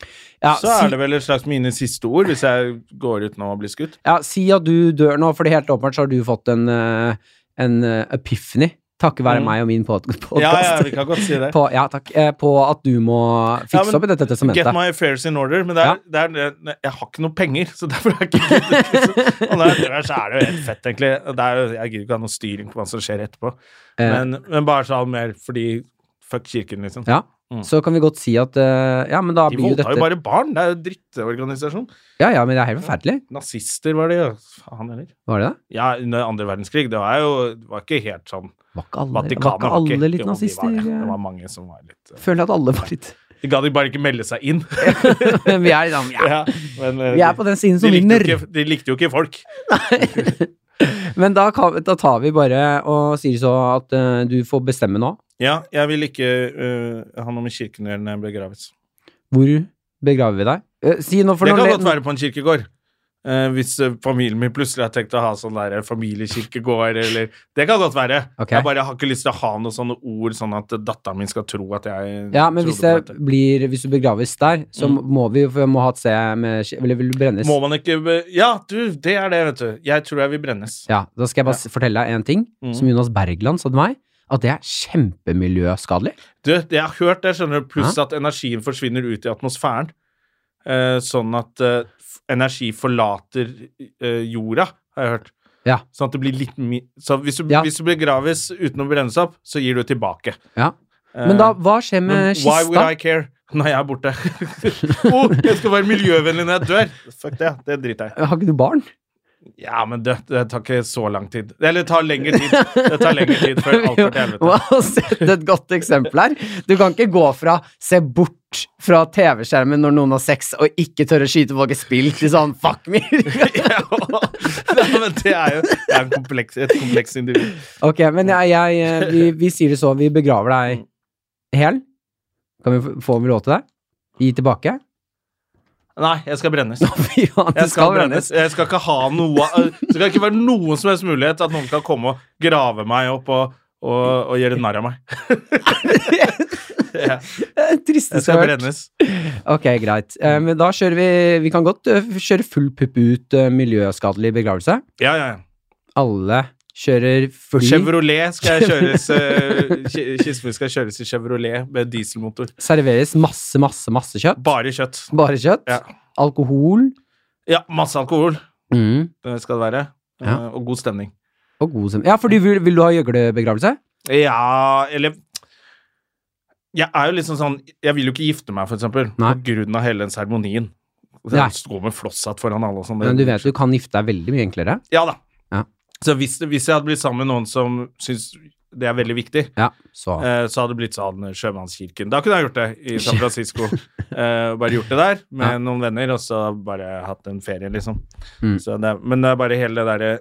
Speaker 1: Ja,
Speaker 2: så
Speaker 1: si-
Speaker 2: er det vel et slags mine siste ord, hvis jeg går ut nå og blir skutt.
Speaker 1: Ja, si at du dør nå, for det er helt åpenbart så har du fått en, eh, en eh, epiphany, takket være
Speaker 2: Mm.
Speaker 1: meg og min pod- podcast.
Speaker 2: Ja, ja, vi kan godt si det.
Speaker 1: På, ja, takk. Eh, På at du må fikse
Speaker 2: Ja, men
Speaker 1: opp i dette testamentet.
Speaker 2: Get my affairs in order, men det er, det er, ne- jeg har ikke noe penger, så derfor har jeg ikke giddet. Og når jeg dør, så er det jo helt fett, egentlig. Det er, jo- jeg gidder ikke ha noe styring på hva som skjer etterpå.
Speaker 1: Eh.
Speaker 2: Men, men bare sånn mer fordi Fuck kirken, liksom.
Speaker 1: Ja,
Speaker 2: Mm.
Speaker 1: så kan vi godt si at eh, Ja, men da
Speaker 2: De
Speaker 1: blir jo
Speaker 2: voldtar
Speaker 1: dette
Speaker 2: jo bare barn. Det er jo en drittorganisasjon.
Speaker 1: Ja, ja, men det er helt forferdelig.
Speaker 2: Nazister var det, ja. Faen heller.
Speaker 1: Var det det?
Speaker 2: Ja, under andre verdenskrig. Det var jo det var ikke helt sånn
Speaker 1: Var ikke alle, var ikke
Speaker 2: Vatikanet ikke-
Speaker 1: alle litt
Speaker 2: Jo, de var det.
Speaker 1: nazister? eh.
Speaker 2: Det
Speaker 1: Jeg
Speaker 2: var mange som var litt eh,
Speaker 1: Føler at alle var litt [laughs]
Speaker 2: De gadd bare ikke melde seg inn.
Speaker 1: Men vi er liksom ja,
Speaker 2: [laughs] ja, men, eh,
Speaker 1: Vi er på den siden
Speaker 2: de,
Speaker 1: som
Speaker 2: de,
Speaker 1: vinner.
Speaker 2: likte jo ikke, de likte jo ikke folk.
Speaker 1: Men da, kan, da tar vi bare og sier så at eh, du får bestemme nå
Speaker 2: Ja, jeg vil ikke eh, ha noe med kirken å gjøre når jeg begraves.
Speaker 1: hvor begraver vi deg. Eh, si nå for
Speaker 2: det
Speaker 1: noe
Speaker 2: kan godt være på en kirkegård. Eh, hvis eh, familien min plutselig har tenkt å ha sånn der familiekirkegård, eller Det kan godt være.
Speaker 1: Ok.
Speaker 2: Jeg bare har ikke lyst til å ha noen sånne ord sånn at datteren min skal tro at jeg
Speaker 1: Ja, men
Speaker 2: trodde
Speaker 1: hvis,
Speaker 2: på
Speaker 1: det blir, hvis du begraves der, så
Speaker 2: Mm.
Speaker 1: må vi for jeg må ha et sted med sk- Eller vil du brennes?
Speaker 2: Må man ikke be- Ja, du, det er det, vet du. Jeg tror jeg vil brennes.
Speaker 1: Ja, da skal jeg bare s- fortelle deg en ting
Speaker 2: Mm.
Speaker 1: som Jonas Bergland sa til meg. At det er kjempemiljøskadelig.
Speaker 2: Du, det jeg har hørt det, skjønner du, pluss at energien forsvinner ut i atmosfæren. Eh, sånn at eh, f- energi forlater eh, jorda, har jeg hørt.
Speaker 1: Ja.
Speaker 2: Sånn at det blir litt mi... Så hvis du,
Speaker 1: Ja.
Speaker 2: hvis du begraves uten å brennes opp, så gir du tilbake.
Speaker 1: Ja.
Speaker 2: Eh,
Speaker 1: Men da, hva skjer med
Speaker 2: men Why would
Speaker 1: kista?
Speaker 2: I care? Når jeg er borte. [laughs] Å, jeg skal være miljøvennlig når jeg dør! Fuck det, det driter jeg i.
Speaker 1: Eh, Har ikke du barn?
Speaker 2: Ja, men det, det tar ikke så lang tid. Eller det tar lengre tid. Det tar lengre tid før alt
Speaker 1: [laughs]
Speaker 2: går til helvete.
Speaker 1: Må ha sett et godt eksempel her. Du kan ikke gå fra se bort fra TV-skjermen når noen har sex, og ikke tørre å skyte folk i spill, til sånn fuck
Speaker 2: [laughs]
Speaker 1: me.
Speaker 2: ja, men det er jo det er en kompleks, et komplekst individ.
Speaker 1: ok, men jeg, jeg vi, vi sier det så, vi begraver
Speaker 2: Mm.
Speaker 1: deg hel. Kan vi få- få vi lov til det? Gi tilbake? [laughs]
Speaker 2: Nei, jeg skal brennes.
Speaker 1: Fy faen, [laughs] det
Speaker 2: Jeg skal brennes. Jeg skal ikke ha noe Det skal ikke være noen som helst mulighet at noen kan komme og grave meg opp og, og, og gjøre
Speaker 1: [laughs]
Speaker 2: narr av meg. Ja,
Speaker 1: Det Tristeste
Speaker 2: Jeg skal
Speaker 1: jeg har hørt.
Speaker 2: brennes.
Speaker 1: Ok, greit. Eh,
Speaker 2: Mm.
Speaker 1: men da kjører vi Vi kan godt eh, kjøre full pupp ut eh, miljøskadelig begravelse.
Speaker 2: Ja, ja, ja.
Speaker 1: Alle kjører fly.
Speaker 2: Chevrolet skal jeg
Speaker 1: [laughs]
Speaker 2: kjøres eh, ki- Kisten min skal kjøres i Chevrolet med dieselmotor.
Speaker 1: Serveres masse, masse, masse kjøtt.
Speaker 2: Bare kjøtt.
Speaker 1: Bare kjøtt.
Speaker 2: Ja.
Speaker 1: Alkohol.
Speaker 2: Ja, masse alkohol
Speaker 1: Mm.
Speaker 2: det skal det være. eh,
Speaker 1: Ja.
Speaker 2: Og god stemning.
Speaker 1: Og god sem... Ja, for du vil, vil du ha gjøglebegravelse?
Speaker 2: Ja, eller Jeg er jo liksom sånn Jeg vil jo ikke gifte meg, for eksempel,
Speaker 1: Nei.
Speaker 2: på grunn av hele den seremonien.
Speaker 1: Nei.
Speaker 2: Å Stå med flosshatt foran alle og sånn. det-
Speaker 1: Men du vet du kan gifte deg veldig mye enklere.
Speaker 2: Ja da.
Speaker 1: Ja.
Speaker 2: Så hvis, hvis jeg hadde blitt sammen med noen som syns det er veldig viktig,
Speaker 1: Ja, så
Speaker 2: eh, så hadde det blitt sånn Sjømannskirken. Da kunne jeg gjort det i
Speaker 1: [laughs]
Speaker 2: San Francisco. Eh, bare gjort det der med
Speaker 1: Ja.
Speaker 2: noen venner, og så bare hatt en ferie, liksom.
Speaker 1: Mm.
Speaker 2: Så det, er- men det er bare hele det derre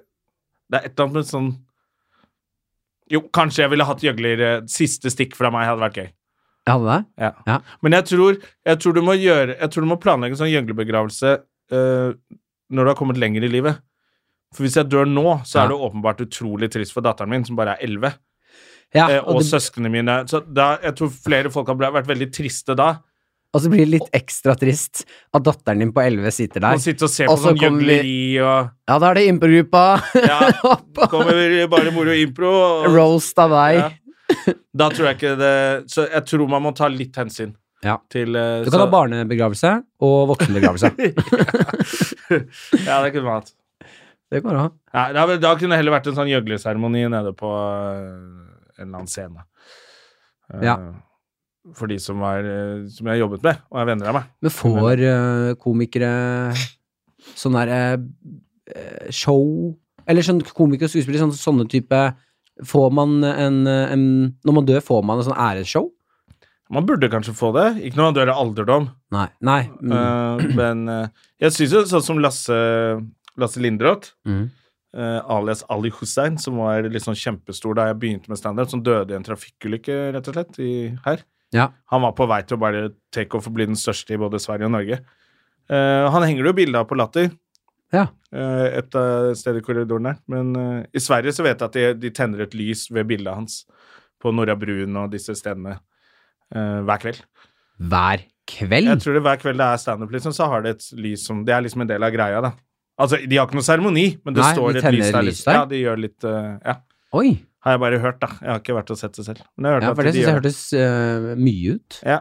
Speaker 2: Det er et eller annet med sånn Jo, kanskje jeg ville hatt gjøgler. eh, Siste stikk fra meg hadde vært gøy.
Speaker 1: Jeg hadde det.
Speaker 2: Ja.
Speaker 1: Ja.
Speaker 2: Men jeg tror, jeg, tror du må gjøre, jeg tror du må planlegge en sånn gjøglebegravelse eh, når du har kommet lenger i livet. For hvis jeg dør nå, så
Speaker 1: Ja.
Speaker 2: er det åpenbart utrolig trist for datteren min, som bare er 11,
Speaker 1: Ja,
Speaker 2: eh,
Speaker 1: og
Speaker 2: og
Speaker 1: det,
Speaker 2: søsknene mine. Så da, jeg tror flere folk har ble- vært veldig triste da.
Speaker 1: Og så blir det litt ekstra trist at datteren din på 11 sitter
Speaker 2: Man
Speaker 1: der.
Speaker 2: sitter og ser på
Speaker 1: Og så
Speaker 2: sånn
Speaker 1: kommer
Speaker 2: gjøgleri og
Speaker 1: Ja, da er det improgruppa. [laughs]
Speaker 2: Ja, kommer bare moro impro. Og,
Speaker 1: Roast av deg.
Speaker 2: Ja. Da tror jeg ikke det Så jeg tror man må ta litt hensyn
Speaker 1: Ja.
Speaker 2: til eh,
Speaker 1: Du kan
Speaker 2: så-
Speaker 1: ha
Speaker 2: [laughs]
Speaker 1: barnebegravelse og voksenbegravelse.
Speaker 2: Ja, det kunne man hatt.
Speaker 1: Det kan du ha.
Speaker 2: Nei, da, da kunne det heller vært en sånn gjøgleseremoni nede på eh, en eller annen scene. Eh,
Speaker 1: Ja.
Speaker 2: For de som, var, eh, som jeg jobbet med, og er venner av meg.
Speaker 1: Men får eh, komikere sånn der eh, show Eller sånn komikere og skuespillere, sånn, sånne type Får man en, en Når man dør, får man en sånn æresshow?
Speaker 2: Man burde kanskje få det. Ikke når man dør av alderdom.
Speaker 1: Nei. Nei. Mm.
Speaker 2: Eh, men eh, jeg syns jo sånn som Lasse, Lasse Lindroth,
Speaker 1: mm.
Speaker 2: eh, alias Ali Hussein, som var liksom kjempestor da jeg begynte med standup, som døde i en trafikkulykke, rett og slett, i, her.
Speaker 1: Ja.
Speaker 2: Han var på vei til å bare take off og bli den største i både Sverige og Norge. Eh, han henger det jo bilde av på Latter.
Speaker 1: Ja.
Speaker 2: Eh, et av stedet i korridoren der. Men eh, i Sverige så vet jeg at de, de tenner et lys ved bildet hans på Norra Brun og disse stedene eh, hver kveld.
Speaker 1: Hver kveld?
Speaker 2: Jeg tror det hver kveld det er standup, liksom, så har det et lys som Det er liksom en del av greia, da. Altså, de har ikke noe seremoni, men det
Speaker 1: Nei,
Speaker 2: står
Speaker 1: de
Speaker 2: et lys
Speaker 1: tenner
Speaker 2: der.
Speaker 1: lys
Speaker 2: Liksom.
Speaker 1: der.
Speaker 2: Ja, de gjør litt eh, Ja.
Speaker 1: Oi!
Speaker 2: Har jeg bare hørt, da. Jeg har ikke vært og sett det selv. Men jeg har hørt
Speaker 1: Ja, for
Speaker 2: at
Speaker 1: det
Speaker 2: de
Speaker 1: syns jeg
Speaker 2: gjør det.
Speaker 1: hørtes eh, mye ut.
Speaker 2: Ja.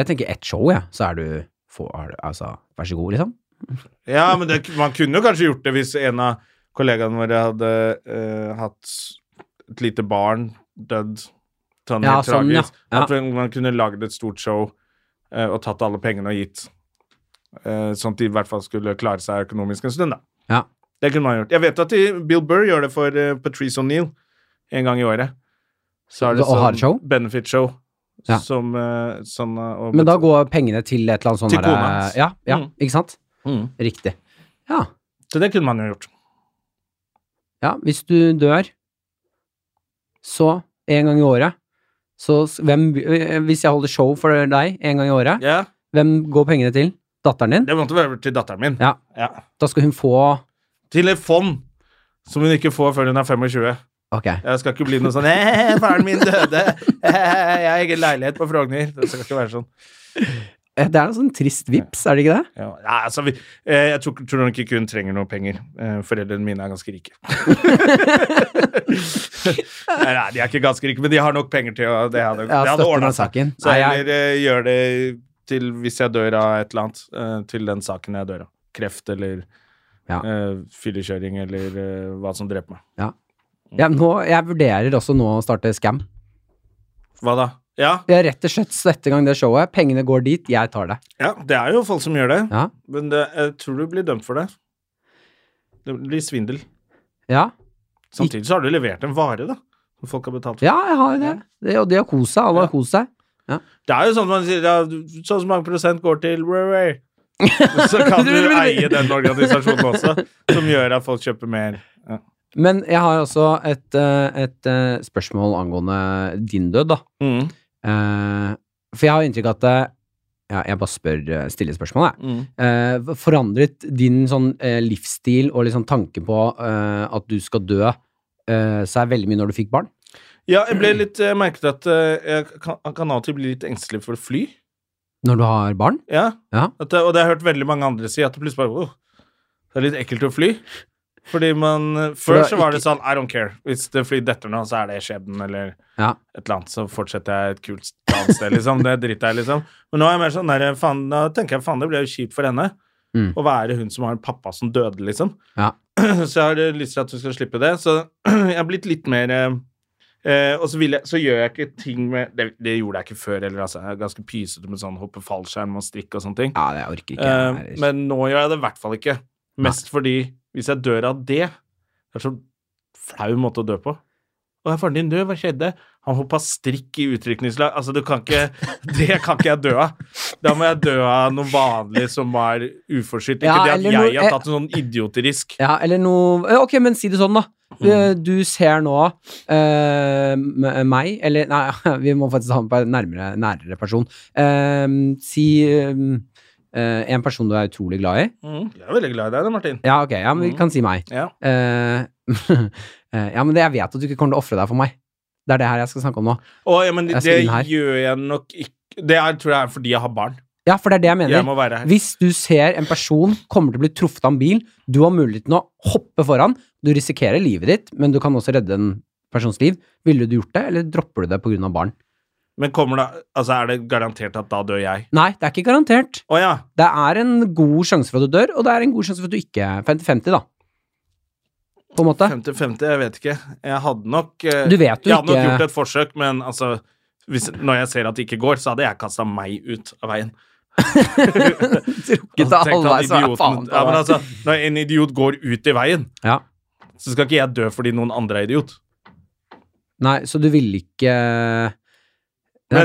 Speaker 1: Jeg tenker ett show, jeg, så er du får, er du- Altså, vær så god, liksom.
Speaker 2: ja, men det, man kunne jo kanskje gjort det hvis en av kollegaene våre hadde eh, hatt et lite barn dødd sånn
Speaker 1: Ja,
Speaker 2: helt
Speaker 1: sånn, ja.
Speaker 2: tragisk.
Speaker 1: Ja.
Speaker 2: At man kunne lagd et stort show eh, og tatt alle pengene og gitt. Eh, sånn at de i hvert fall skulle klare seg økonomisk en stund, da.
Speaker 1: Ja.
Speaker 2: Det kunne man gjort. Jeg vet at de, Bill Burr gjør det for eh, Patrice O'Neill en gang i året. Så
Speaker 1: Og har et show?
Speaker 2: benefit-show.
Speaker 1: Ja.
Speaker 2: Som eh, sånn eh, og-
Speaker 1: Men da går pengene til et eller annet sånt
Speaker 2: Til
Speaker 1: der- eh,
Speaker 2: kona hans.
Speaker 1: Ja, ja
Speaker 2: Mm.
Speaker 1: ikke sant?
Speaker 2: Mm.
Speaker 1: Riktig. Ja.
Speaker 2: Så det kunne man jo gjort.
Speaker 1: ja, hvis du dør, så en gang i året så s- hvem, eh, Hvis jeg holder show for deg en gang i året,
Speaker 2: Ja,
Speaker 1: hvem går pengene til? Datteren din?
Speaker 2: Det måtte være til datteren min.
Speaker 1: Ja.
Speaker 2: Ja.
Speaker 1: Da skal hun få
Speaker 2: Til et fond som hun ikke får før hun er 25.
Speaker 1: Ok.
Speaker 2: Jeg skal ikke bli noe sånn «Eh, 'Faren min døde. Eh, jeg har egen leilighet på Frogner.' Det skal ikke være sånn.
Speaker 1: Eh, Det er noe sånn trist vips, er det ikke det?
Speaker 2: Ja, ja, altså, vi, eh, jeg tror, tror nok ikke hun trenger noe penger. Eh, foreldrene mine er ganske rike. [laughs] nei, nei, de er ikke ganske rike, men de har nok penger til å Det hadde,
Speaker 1: Ja,
Speaker 2: det hadde
Speaker 1: støtter den
Speaker 2: ordna seg.
Speaker 1: saken.
Speaker 2: Så
Speaker 1: Nei, jeg,
Speaker 2: heller eh, gjør det til, hvis jeg dør av et eller annet, eh, til den saken jeg dør av. Kreft eller
Speaker 1: Ja.
Speaker 2: eh, fyllekjøring eller eh, hva som dreper meg.
Speaker 1: ja, nå, jeg vurderer også nå å starte scam.
Speaker 2: Hva da? Ja,
Speaker 1: Jeg rett og slett sette i gang det showet. Pengene går dit, jeg tar det.
Speaker 2: ja, det er jo folk som gjør det,
Speaker 1: Ja.
Speaker 2: men det, jeg tror du blir dømt for det. Det blir svindel.
Speaker 1: Ja,
Speaker 2: Samtidig så har du levert en vare, da. Som folk har betalt for.
Speaker 1: ja jeg har det. det. Og de har kost seg. Alle har kost seg.
Speaker 2: Det er jo sånn at man sier ja, du- så og så mange prosent går til Rare. [laughs] Så kan du eie den organisasjonen også, som gjør at folk kjøper mer.
Speaker 1: Men jeg har også et, eh, et eh, spørsmål angående din død, da.
Speaker 2: Mm,
Speaker 1: Eh, For jeg har inntrykk av at eh, ja, Jeg bare spør, eh, stiller spørsmål, jeg.
Speaker 2: mm.
Speaker 1: Eh, Forandret din sånn eh, livsstil og liksom tanke på eh, at du skal dø eh, seg veldig mye når du fikk barn?
Speaker 2: Ja, jeg ble litt jeg merket at eh, jeg kan, kan av og til bli litt engstelig for å fly.
Speaker 1: Når du har barn?
Speaker 2: Ja.
Speaker 1: Ja.
Speaker 2: At, det- og det har jeg hørt veldig mange andre si, at det plutselig bare wow, Det er litt ekkelt å fly. Fordi man eh,
Speaker 1: For
Speaker 2: Før
Speaker 1: det er
Speaker 2: så var det sånn I don't care. Hvis det flyr detter nå, så er det skjebnen, eller
Speaker 1: Ja.
Speaker 2: et eller annet. Så fortsetter jeg et kult annet sted, liksom. Det driter jeg, liksom. Men nå er jeg mer sånn der, faen, da tenker jeg faen, det ble jo kjipt for henne.
Speaker 1: Mm.
Speaker 2: Å være hun som har en pappa som døde, liksom.
Speaker 1: Ja.
Speaker 2: [clears throat] Så jeg har eh, lyst til at hun skal slippe det. Så [clears throat] jeg har blitt litt mer eh, eh, og så, vil jeg, så gjør jeg ikke ting med det, det gjorde jeg ikke før heller. Altså. Jeg er ganske pysete med sånn hoppe fallskjerm og strikk og sånne ting.
Speaker 1: Ja, det jeg orker ikke.
Speaker 2: Eh,
Speaker 1: jeg er-
Speaker 2: men nå gjør jeg det i hvert fall ikke. Mest fordi hvis jeg dør av det Det er så flau måte å dø på. Å, er faren din død? Hva skjedde? Han hoppa strikk i utrykningslag. Altså, du
Speaker 1: [laughs]
Speaker 2: kan ikke Det kan ikke jeg dø av. Da må jeg dø av noe vanlig som var uforskyldt. Ikke
Speaker 1: Ja,
Speaker 2: det
Speaker 1: eller
Speaker 2: at jeg
Speaker 1: noe-
Speaker 2: har tatt en sånn idioterisk
Speaker 1: Ja, eller noe eh, Ok, men si det sånn, da. Eh, Du ser nå eh, m- meg, eller Nei, [laughs] vi må faktisk ha med på en nærmere, nærere person. Eh, si eh, eh, en person du er utrolig glad i.
Speaker 2: mm, Jeg er veldig glad i deg, da, Martin.
Speaker 1: Ja, ok, ja, men vi
Speaker 2: Mm.
Speaker 1: kan si meg.
Speaker 2: Ja.
Speaker 1: Eh, [laughs] eh, ja, men det, jeg vet at du ikke kommer til å ofre deg for meg. Det er det her jeg skal snakke om nå.
Speaker 2: Å, ja, men
Speaker 1: Jeg
Speaker 2: det
Speaker 1: skal inn her.
Speaker 2: gjør jeg nok ikke Det er, tror jeg er fordi jeg har barn.
Speaker 1: Ja, for det er det jeg
Speaker 2: Jeg
Speaker 1: mener.
Speaker 2: må være her.
Speaker 1: Hvis du ser en person kommer til å bli truffet av en bil, du har muligheten å hoppe foran, du risikerer livet ditt, men du kan også redde en persons liv. Ville du gjort det, eller dropper du det pga. barn?
Speaker 2: Men kommer det, altså er det garantert at da dør jeg?
Speaker 1: Nei, det er ikke garantert.
Speaker 2: Å ja.
Speaker 1: Det er en god sjanse for at du dør, og det er en god sjanse for at du ikke 50-50, da. På en måte.
Speaker 2: 50-50, jeg vet ikke. Jeg hadde nok eh,
Speaker 1: Du vet jo
Speaker 2: Jeg hadde nok
Speaker 1: ikke-
Speaker 2: gjort et forsøk, men altså hvis, Når jeg ser at det ikke går, så hadde jeg kasta meg ut av veien.
Speaker 1: [laughs] Trukket
Speaker 2: Altså,
Speaker 1: av
Speaker 2: tenk at
Speaker 1: halvveis, så er faen
Speaker 2: idioten- ja, men altså, Når en idiot går ut i veien,
Speaker 1: Ja.
Speaker 2: så skal ikke jeg dø fordi noen andre er idiot.
Speaker 1: Nei, så du ville ikke
Speaker 2: Men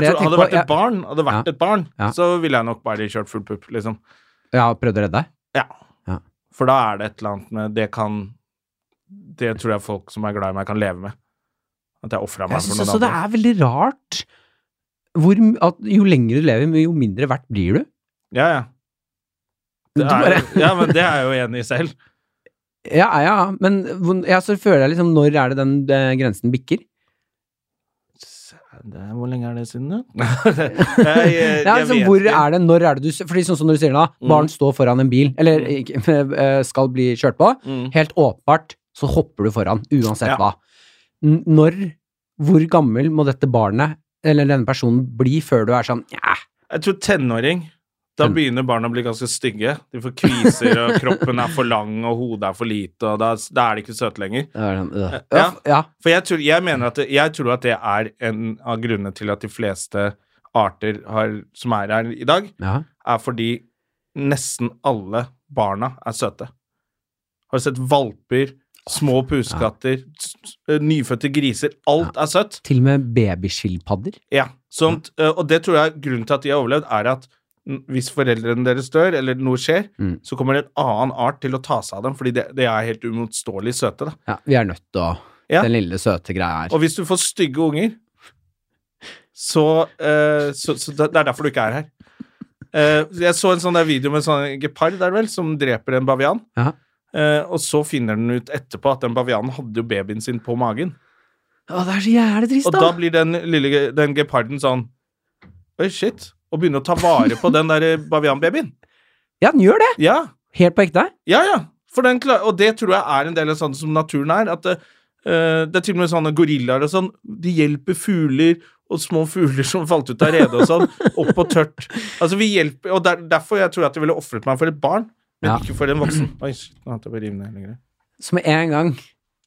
Speaker 1: Det er
Speaker 2: jeg
Speaker 1: det
Speaker 2: tror, hadde det
Speaker 1: tenker
Speaker 2: vært
Speaker 1: på.
Speaker 2: et barn, hadde det vært et barn
Speaker 1: Ja.
Speaker 2: så ville jeg nok bare kjørt full pupp, liksom.
Speaker 1: Jeg, jeg har prøvd å redde deg.
Speaker 2: Ja.
Speaker 1: Ja.
Speaker 2: For da er det et eller annet med Det kan Det tror jeg folk som er glad i meg, kan leve med. At jeg ofra meg
Speaker 1: Jeg
Speaker 2: for
Speaker 1: syns
Speaker 2: noen
Speaker 1: også det
Speaker 2: andre.
Speaker 1: er veldig rart hvor, m- at jo lenger du lever, jo mindre verdt blir du.
Speaker 2: Ja, ja. Det
Speaker 1: Du
Speaker 2: er,
Speaker 1: bare-
Speaker 2: jo- ja, men det er jeg jo enig i selv.
Speaker 1: Ja, ja, men hvor- ja, så føler jeg liksom Når er det den eh, grensen bikker?
Speaker 2: Det, hvor lenge er det siden, [laughs] da? altså, jeg, eh, jeg,
Speaker 1: Ja, liksom,
Speaker 2: vet
Speaker 1: hvor
Speaker 2: ikke.
Speaker 1: er det, når er det du s- Fordi sånn som når du sier det da,
Speaker 2: Mm.
Speaker 1: barn står foran en bil, eller ikke, [laughs] eh, skal bli kjørt på,
Speaker 2: Mm.
Speaker 1: helt åpenbart så hopper du foran, uansett
Speaker 2: Ja.
Speaker 1: hva. N når, hvor gammel må dette barnet, eller denne personen, bli før du er sånn ja,
Speaker 2: Jeg tror tenåring Da
Speaker 1: Ten-
Speaker 2: begynner barna å bli ganske stygge. De får kviser, og kroppen er for lang, og hodet er for lite, og da, da er de ikke søte lenger.
Speaker 1: det er sånn, øh,
Speaker 2: Eh, Ja.
Speaker 1: øh, ja.
Speaker 2: For jeg tror, jeg, mener at det, jeg tror at det er en av grunnene til at de fleste arter har, som er her i dag,
Speaker 1: ja.
Speaker 2: er fordi nesten alle barna er søte. Har du sett valper, små pusekatter, s- s- nyfødte griser? Alt er søtt.
Speaker 1: Til og med babyskilpadder.
Speaker 2: Ja, sånt, eh, Og det tror jeg grunnen til at de har overlevd, er at mm, hvis foreldrene deres dør, eller noe skjer,
Speaker 1: Mm.
Speaker 2: så kommer det en annen art til å ta seg av dem, fordi det, det er helt umotståelig søte. da.
Speaker 1: Ja, vi er nødt til å
Speaker 2: Ja.
Speaker 1: Den lille søte greia her.
Speaker 2: Og hvis du får stygge unger, så, eh, så, så det det er derfor du ikke er her. Eh, jeg så en sånn der video med en sånn gepard der vel, som dreper en bavian.
Speaker 1: Ja.
Speaker 2: Eh, og så finner den ut etterpå at den bavianen hadde jo babyen sin på magen.
Speaker 1: Å, det er så jævlig trist,
Speaker 2: Og da blir den lille ge- den geparden sånn Oi, shit. Og begynner å ta vare på den der eh, bavianbabyen.
Speaker 1: Ja, den gjør det!
Speaker 2: Ja,
Speaker 1: Helt på ekte.
Speaker 2: ja, ja. For den klar, og det tror jeg er en del av sånn som naturen er. At det, eh, det er til og med sånne gorillaer og sånn. De hjelper fugler og små fugler som falt ut av redet og sånn. Opp og tørt. Altså, vi hjelper Og der, derfor jeg tror jeg at jeg ville ofret meg for et barn, men
Speaker 1: Ja.
Speaker 2: ikke for en voksen. Oi, shit, nå hadde jeg bare rive ned hele greia.
Speaker 1: Så med en gang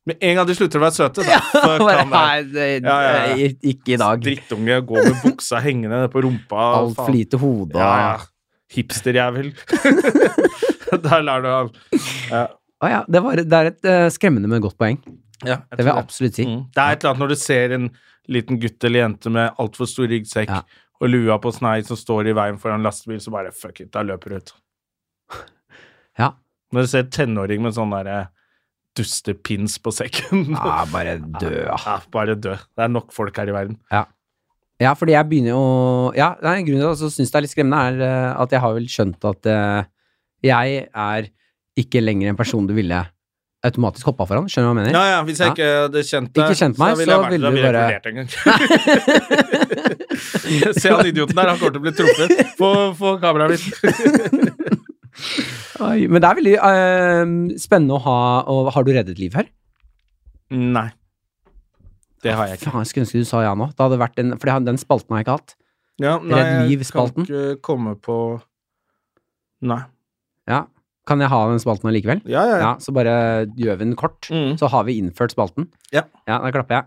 Speaker 2: Med en gang de slutter å være søte, så fuck
Speaker 1: [laughs] bare,
Speaker 2: han der.
Speaker 1: Nei, det-
Speaker 2: Ja, ja, ja.
Speaker 1: det- ikke i dag.
Speaker 2: Drittunge går med buksa hengende ned på rumpa. og
Speaker 1: Altfor
Speaker 2: faen.
Speaker 1: lite hode og
Speaker 2: Ja, ja.
Speaker 1: [laughs]
Speaker 2: Hipsterjævel. Der lærer du han.
Speaker 1: Å ja, det, var, det er et eh, skremmende, men godt poeng.
Speaker 2: Ja,
Speaker 1: Det vil jeg absolutt si.
Speaker 2: Mm. Det er et eller annet når du ser en liten gutt eller jente med altfor stor ryggsekk
Speaker 1: Ja.
Speaker 2: og lua på snei som står i veien foran lastebil, så bare fuck it, da løper du ut.
Speaker 1: [laughs] Ja.
Speaker 2: Når du ser tenåring med sånn derre dustepins på sekken
Speaker 1: Ja, bare dø, ja.
Speaker 2: [laughs] Ja, bare dø. Det er nok folk her i verden.
Speaker 1: Ja, fordi jeg begynner jo Ja, nei, grunnen til at jeg syns det er litt skremmende, er eh, at jeg har vel skjønt at eh, jeg er ikke lenger en person du ville automatisk hoppa foran. Skjønner du hva jeg mener?
Speaker 2: Ja, ja, hvis jeg
Speaker 1: Ja.
Speaker 2: ikke hadde kjent deg,
Speaker 1: Ikke kjent meg,
Speaker 2: så
Speaker 1: så
Speaker 2: ville jeg vært
Speaker 1: ville
Speaker 2: der,
Speaker 1: du
Speaker 2: ville jeg
Speaker 1: bare-
Speaker 2: vurdert en gang. [laughs] Se han idioten der, han kommer til å bli truffet. Få, få kameraet mitt.
Speaker 1: Oi, men det er veldig eh, spennende å ha og Har du reddet liv her?
Speaker 2: Nei. Det har jeg ikke.
Speaker 1: Faen, jeg skulle ønske du sa ja nå. Det hadde vært en, for det har- den spalten har jeg ikke hatt.
Speaker 2: Ja, nei,
Speaker 1: Redd
Speaker 2: jeg kan
Speaker 1: Liv-spalten?
Speaker 2: ikke komme på Nei.
Speaker 1: Ja. Kan jeg ha den spalten allikevel?
Speaker 2: Ja, ja, ja.
Speaker 1: Ja, så bare gjør vi den kort.
Speaker 2: Mm.
Speaker 1: Så har vi innført spalten.
Speaker 2: Ja.
Speaker 1: Ja, da klapper jeg.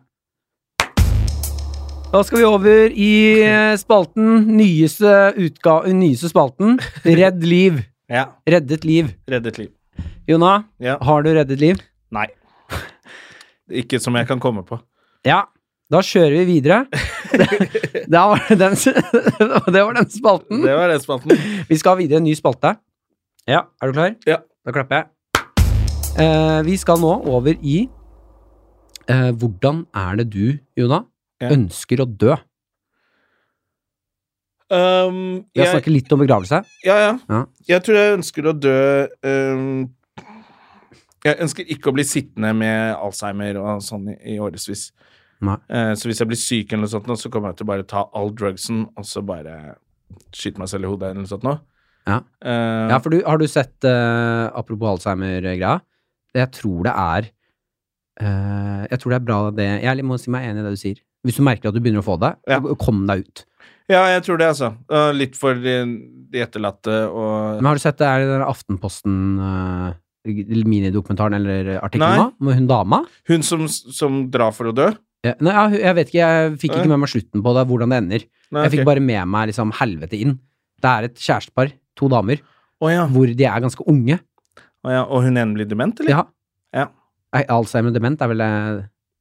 Speaker 1: Da skal vi over i eh, spalten. Nyeste, utga nyeste spalten.
Speaker 2: [laughs]
Speaker 1: Redd liv.
Speaker 2: ja.
Speaker 1: Reddet liv.
Speaker 2: Reddet liv.
Speaker 1: Jona,
Speaker 2: Ja.
Speaker 1: har du reddet liv?
Speaker 2: Nei. Ikke som jeg kan komme på.
Speaker 1: Ja. Da kjører vi
Speaker 2: [laughs]
Speaker 1: videre. Det, da var det den, [laughs] det var den spalten.
Speaker 2: Det var den
Speaker 1: [laughs]
Speaker 2: spalten. Um,
Speaker 1: Vi skal videre i en ny spalte. Ja, er du klar?
Speaker 2: Ja.
Speaker 1: Da klapper jeg. Eh, vi skal nå over i eh, Hvordan er det du, Jona,
Speaker 2: Ja.
Speaker 1: ønsker å dø?
Speaker 2: Um,
Speaker 1: Vi har
Speaker 2: jeg,
Speaker 1: snakket litt om begravelse.
Speaker 2: ja, ja,
Speaker 1: Ja.
Speaker 2: Jeg tror jeg ønsker å dø um, Jeg ønsker ikke å bli sittende med alzheimer og sånn i, i årevis.
Speaker 1: Nei.
Speaker 2: Eh, så hvis jeg blir syk, eller noe sånt, nå, så kommer jeg til å bare ta all drugsen og så bare skyte meg selv i hodet eller noe sånt. Nå.
Speaker 1: Ja.
Speaker 2: Eh,
Speaker 1: Ja, for du, har du sett eh, Apropos Alzheimer-greia. Jeg tror det er eh, Jeg tror det er bra det Jeg må si meg enig i det du sier. Hvis du merker at du begynner å få det,
Speaker 2: Ja.
Speaker 1: kom deg ut.
Speaker 2: ja, jeg tror det, altså. Eh, litt for de, de etterlatte og
Speaker 1: Men har du sett det er den Aftenposten-minidokumentaren eller
Speaker 2: Nei.
Speaker 1: artikkelen nå? Med hun dama?
Speaker 2: Hun som, som drar for å dø?
Speaker 1: Ja, nei, ja, hun- jeg vet ikke, jeg fikk
Speaker 2: Nei.
Speaker 1: ikke med meg slutten på det, hvordan det ender.
Speaker 2: Nei,
Speaker 1: Jeg fikk
Speaker 2: ok.
Speaker 1: bare med meg liksom helvete inn. Det er et kjærestepar, to damer,
Speaker 2: Å ja.
Speaker 1: hvor de er ganske unge.
Speaker 2: Å ja. Og hun ene blir dement, eller?
Speaker 1: Ja.
Speaker 2: Ja.
Speaker 1: Nei, Alzheimer og dement er vel eh,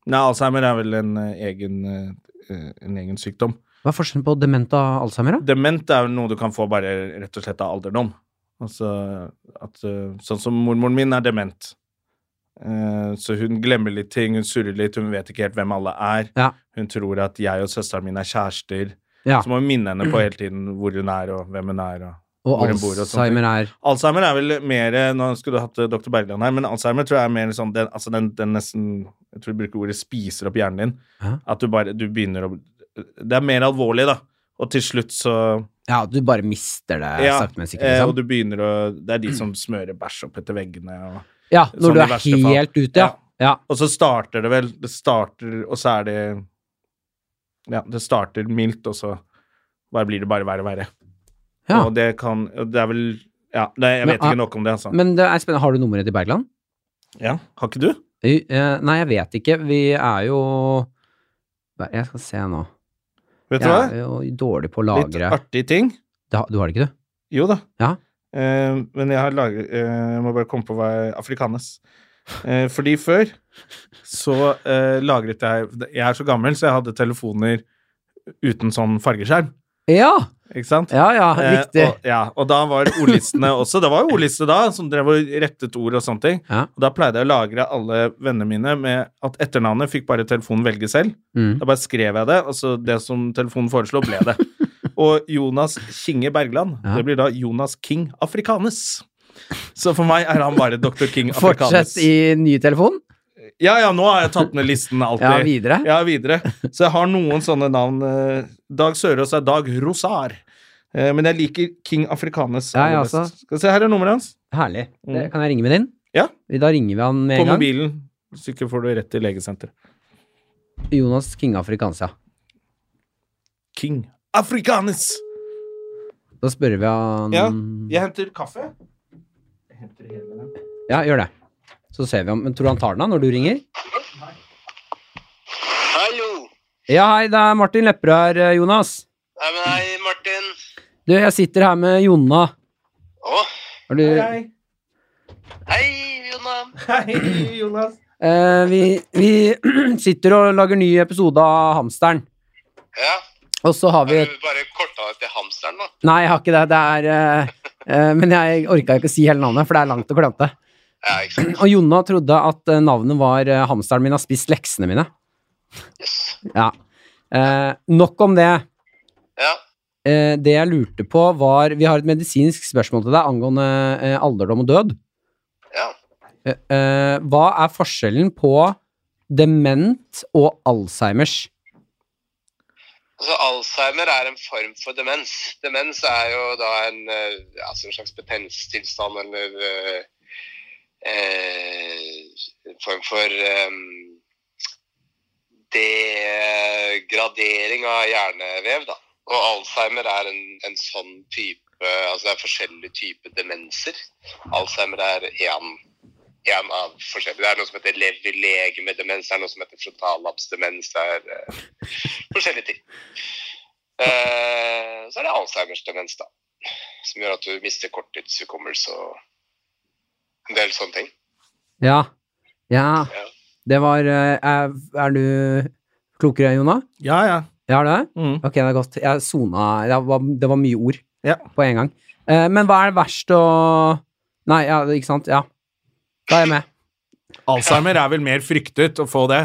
Speaker 2: Nei, Alzheimer er vel en eh, egen, eh, en egen sykdom.
Speaker 1: Hva er forskjellen på dement og alzheimer, da?
Speaker 2: Dement er jo noe du kan få bare rett og slett av alderdom. Altså at eh, Sånn som mormoren min er dement. Eh, Så hun glemmer litt ting, hun surrer litt, hun vet ikke helt hvem alle er.
Speaker 1: Ja.
Speaker 2: Hun tror at jeg og søsteren min er kjærester.
Speaker 1: Ja.
Speaker 2: Så må hun minne henne på hele tiden hvor hun er, og hvem hun er. Og.
Speaker 1: Og
Speaker 2: hvor hun bor og sånne
Speaker 1: alzheimer er
Speaker 2: Alzheimer er vel mer eh, Nå skulle du hatt eh, dr. Bergland her, men alzheimer tror jeg er mer sånn den, altså den, den nesten Jeg tror du bruker ordet spiser opp hjernen din.
Speaker 1: Hæ?
Speaker 2: At du bare Du begynner å Det er mer alvorlig, da. Og til slutt så
Speaker 1: Ja, du bare mister det
Speaker 2: Ja,
Speaker 1: sakte, men sikkert.
Speaker 2: Eh, og
Speaker 1: Liksom.
Speaker 2: du begynner å Det er de som smører bæsj opp etter veggene. Og,
Speaker 1: Ja,
Speaker 2: sånn
Speaker 1: når du
Speaker 2: i
Speaker 1: er
Speaker 2: verste fall.
Speaker 1: helt ute, ja. ja.
Speaker 2: og så starter det vel Det starter, og så er det Ja, det starter mildt, og så bare blir det bare verre og verre.
Speaker 1: Ja.
Speaker 2: Og det kan og Det er vel Ja, det, jeg
Speaker 1: Men,
Speaker 2: vet
Speaker 1: ah,
Speaker 2: ikke nok om det, altså.
Speaker 1: Men det er spennende. Har du nummeret til Bergland?
Speaker 2: ja. Har ikke du?
Speaker 1: Eh, Nei, jeg vet ikke. Vi er jo Hva- Jeg skal se nå.
Speaker 2: Vet
Speaker 1: Jeg er
Speaker 2: du
Speaker 1: jo dårlig på å
Speaker 2: hva? Litt
Speaker 1: lagre
Speaker 2: artig ting.
Speaker 1: Det har- Du har det ikke, du?
Speaker 2: Jo da.
Speaker 1: Ja.
Speaker 2: Eh, men jeg har lagret eh, Jeg må bare komme på hva jeg Afrikanes. Eh, fordi før så eh, lagret jeg Jeg er så gammel, så jeg hadde telefoner uten sånn fargeskjerm.
Speaker 1: Ja!
Speaker 2: Ikke sant?
Speaker 1: Ja, ja, riktig.
Speaker 2: Eh, og, ja, og da var
Speaker 1: [laughs]
Speaker 2: ordlistene også Det var jo ordliste da, som drev og rettet ord og sånne ting.
Speaker 1: Ja.
Speaker 2: Og da pleide jeg å lagre alle vennene mine med at etternavnet fikk bare telefonen velge selv.
Speaker 1: mm.
Speaker 2: Da bare skrev jeg det, og så det som telefonen foreslo, ble
Speaker 1: [laughs]
Speaker 2: det. Og Jonas Kinge Bergland,
Speaker 1: Ja.
Speaker 2: det blir da Jonas King Afrikanes. Så for meg er han bare Dr. King
Speaker 1: [laughs]
Speaker 2: Afrikanes.
Speaker 1: Fortsett i ny telefon.
Speaker 2: Ja, ja, nå har jeg tatt ned listen
Speaker 1: Ja,
Speaker 2: alltid.
Speaker 1: videre.
Speaker 2: Ja, videre. Så jeg har noen sånne navn. eh, Dag Sørås er Dag Rosar. Eh, Men jeg liker King Afrikanes
Speaker 1: Ja, jeg
Speaker 2: aller best.
Speaker 1: også.
Speaker 2: Skal vi se, her er nummeret hans.
Speaker 1: Herlig. Det,
Speaker 2: Mm.
Speaker 1: kan jeg ringe med din?
Speaker 2: Ja.
Speaker 1: Da ringer vi han med
Speaker 2: På
Speaker 1: en gang.
Speaker 2: mobilen. Så ikke får du rett til legesenteret.
Speaker 1: Jonas King Afrikansia.
Speaker 2: King Afrikanes!
Speaker 1: Da spør vi han
Speaker 2: Ja, Jeg henter kaffe. Jeg henter hele den.
Speaker 1: Ja, gjør det. Så ser vi om Men tror du han tar den av når du ringer?
Speaker 3: Hallo.
Speaker 1: Ja, hei, det er Martin Lepperød her, eh, Jonas.
Speaker 3: Nei, men hei, Martin.
Speaker 1: Du, jeg sitter her med Jonna.
Speaker 3: Å,
Speaker 1: Har du
Speaker 2: Hei,
Speaker 3: hei, Jonna.
Speaker 2: hei, Jonas.
Speaker 1: eh, Vi, vi [clears throat] sitter og lager ny episode av Hamsteren.
Speaker 3: Ja,
Speaker 1: Og så har vi
Speaker 3: har
Speaker 1: et
Speaker 3: du bare korta det til hamsteren, da?
Speaker 1: Nei, jeg har ikke det. Det er eh, eh, Men jeg orka ikke å si hele navnet, for det er langt og klønete.
Speaker 3: Ja, ikke sant.
Speaker 1: Og Jonna trodde at eh, navnet var eh, 'Hamsteren min har spist leksene mine'.
Speaker 3: Yes.
Speaker 1: Ja. Eh, nok om det.
Speaker 3: Ja,
Speaker 1: Eh, det jeg lurte på, var Vi har et medisinsk spørsmål til deg angående eh, alderdom og død.
Speaker 3: ja.
Speaker 1: Eh, eh, hva er forskjellen på dement og Alzheimers?
Speaker 3: Altså, Alzheimer er en form for demens. Demens er jo da en, eh, altså en slags betennelsestilstand eller eh, eh, en form for eh, degradering av hjernevev, da. Og Alzheimer er en, en sånn type Altså det er forskjellige typer demenser. Alzheimer er én en av forskjellige. Det er noe som heter lever-legeme-demens, det er noe som heter frontallapsdemens, det er eh, forskjellige ting. Eh, så er det Alzheimers demens, da. Som gjør at du mister korttidshukommelse og en del sånne ting.
Speaker 1: Ja. Ja,
Speaker 3: Ja.
Speaker 1: det var eh, Er, er du klokere, Jonna?
Speaker 2: Ja, ja.
Speaker 1: Ja, er du det?
Speaker 2: Mm.
Speaker 1: Ok, det er godt. Jeg sona Det var, det var mye ord
Speaker 2: Ja.
Speaker 1: på en gang. Eh, men hva er det verst å Nei, ja, ikke sant? Ja. Da er jeg med.
Speaker 2: Alzheimer er vel mer fryktet å få det.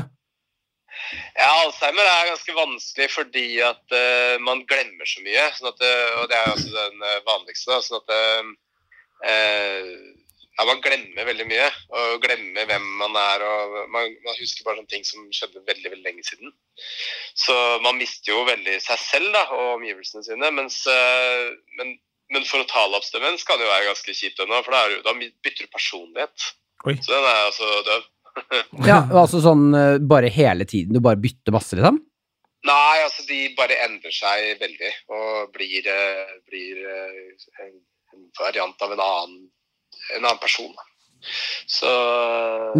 Speaker 3: Ja, Alzheimer er ganske vanskelig fordi at eh, man glemmer så mye. Sånn at, eh, og det er jo også den eh, vanligste. Da, sånn at eh, eh, ja, man glemmer veldig mye. Og glemmer hvem man er. og man, man husker bare sånne ting som skjedde veldig veldig lenge siden. Så man mister jo veldig seg selv da, og omgivelsene sine. Mens, eh, men, men for å tale opp demens kan det jo være ganske kjipt ennå, for da, er, du- da bytter du personlighet.
Speaker 2: Oi.
Speaker 3: Så den er altså døv.
Speaker 1: Ja, altså sånn eh, bare hele tiden. Du bare bytter masse, liksom?
Speaker 3: Nei, altså de bare endrer seg veldig og blir, eh, blir eh, en, en variant av en annen, en annen person. da. Så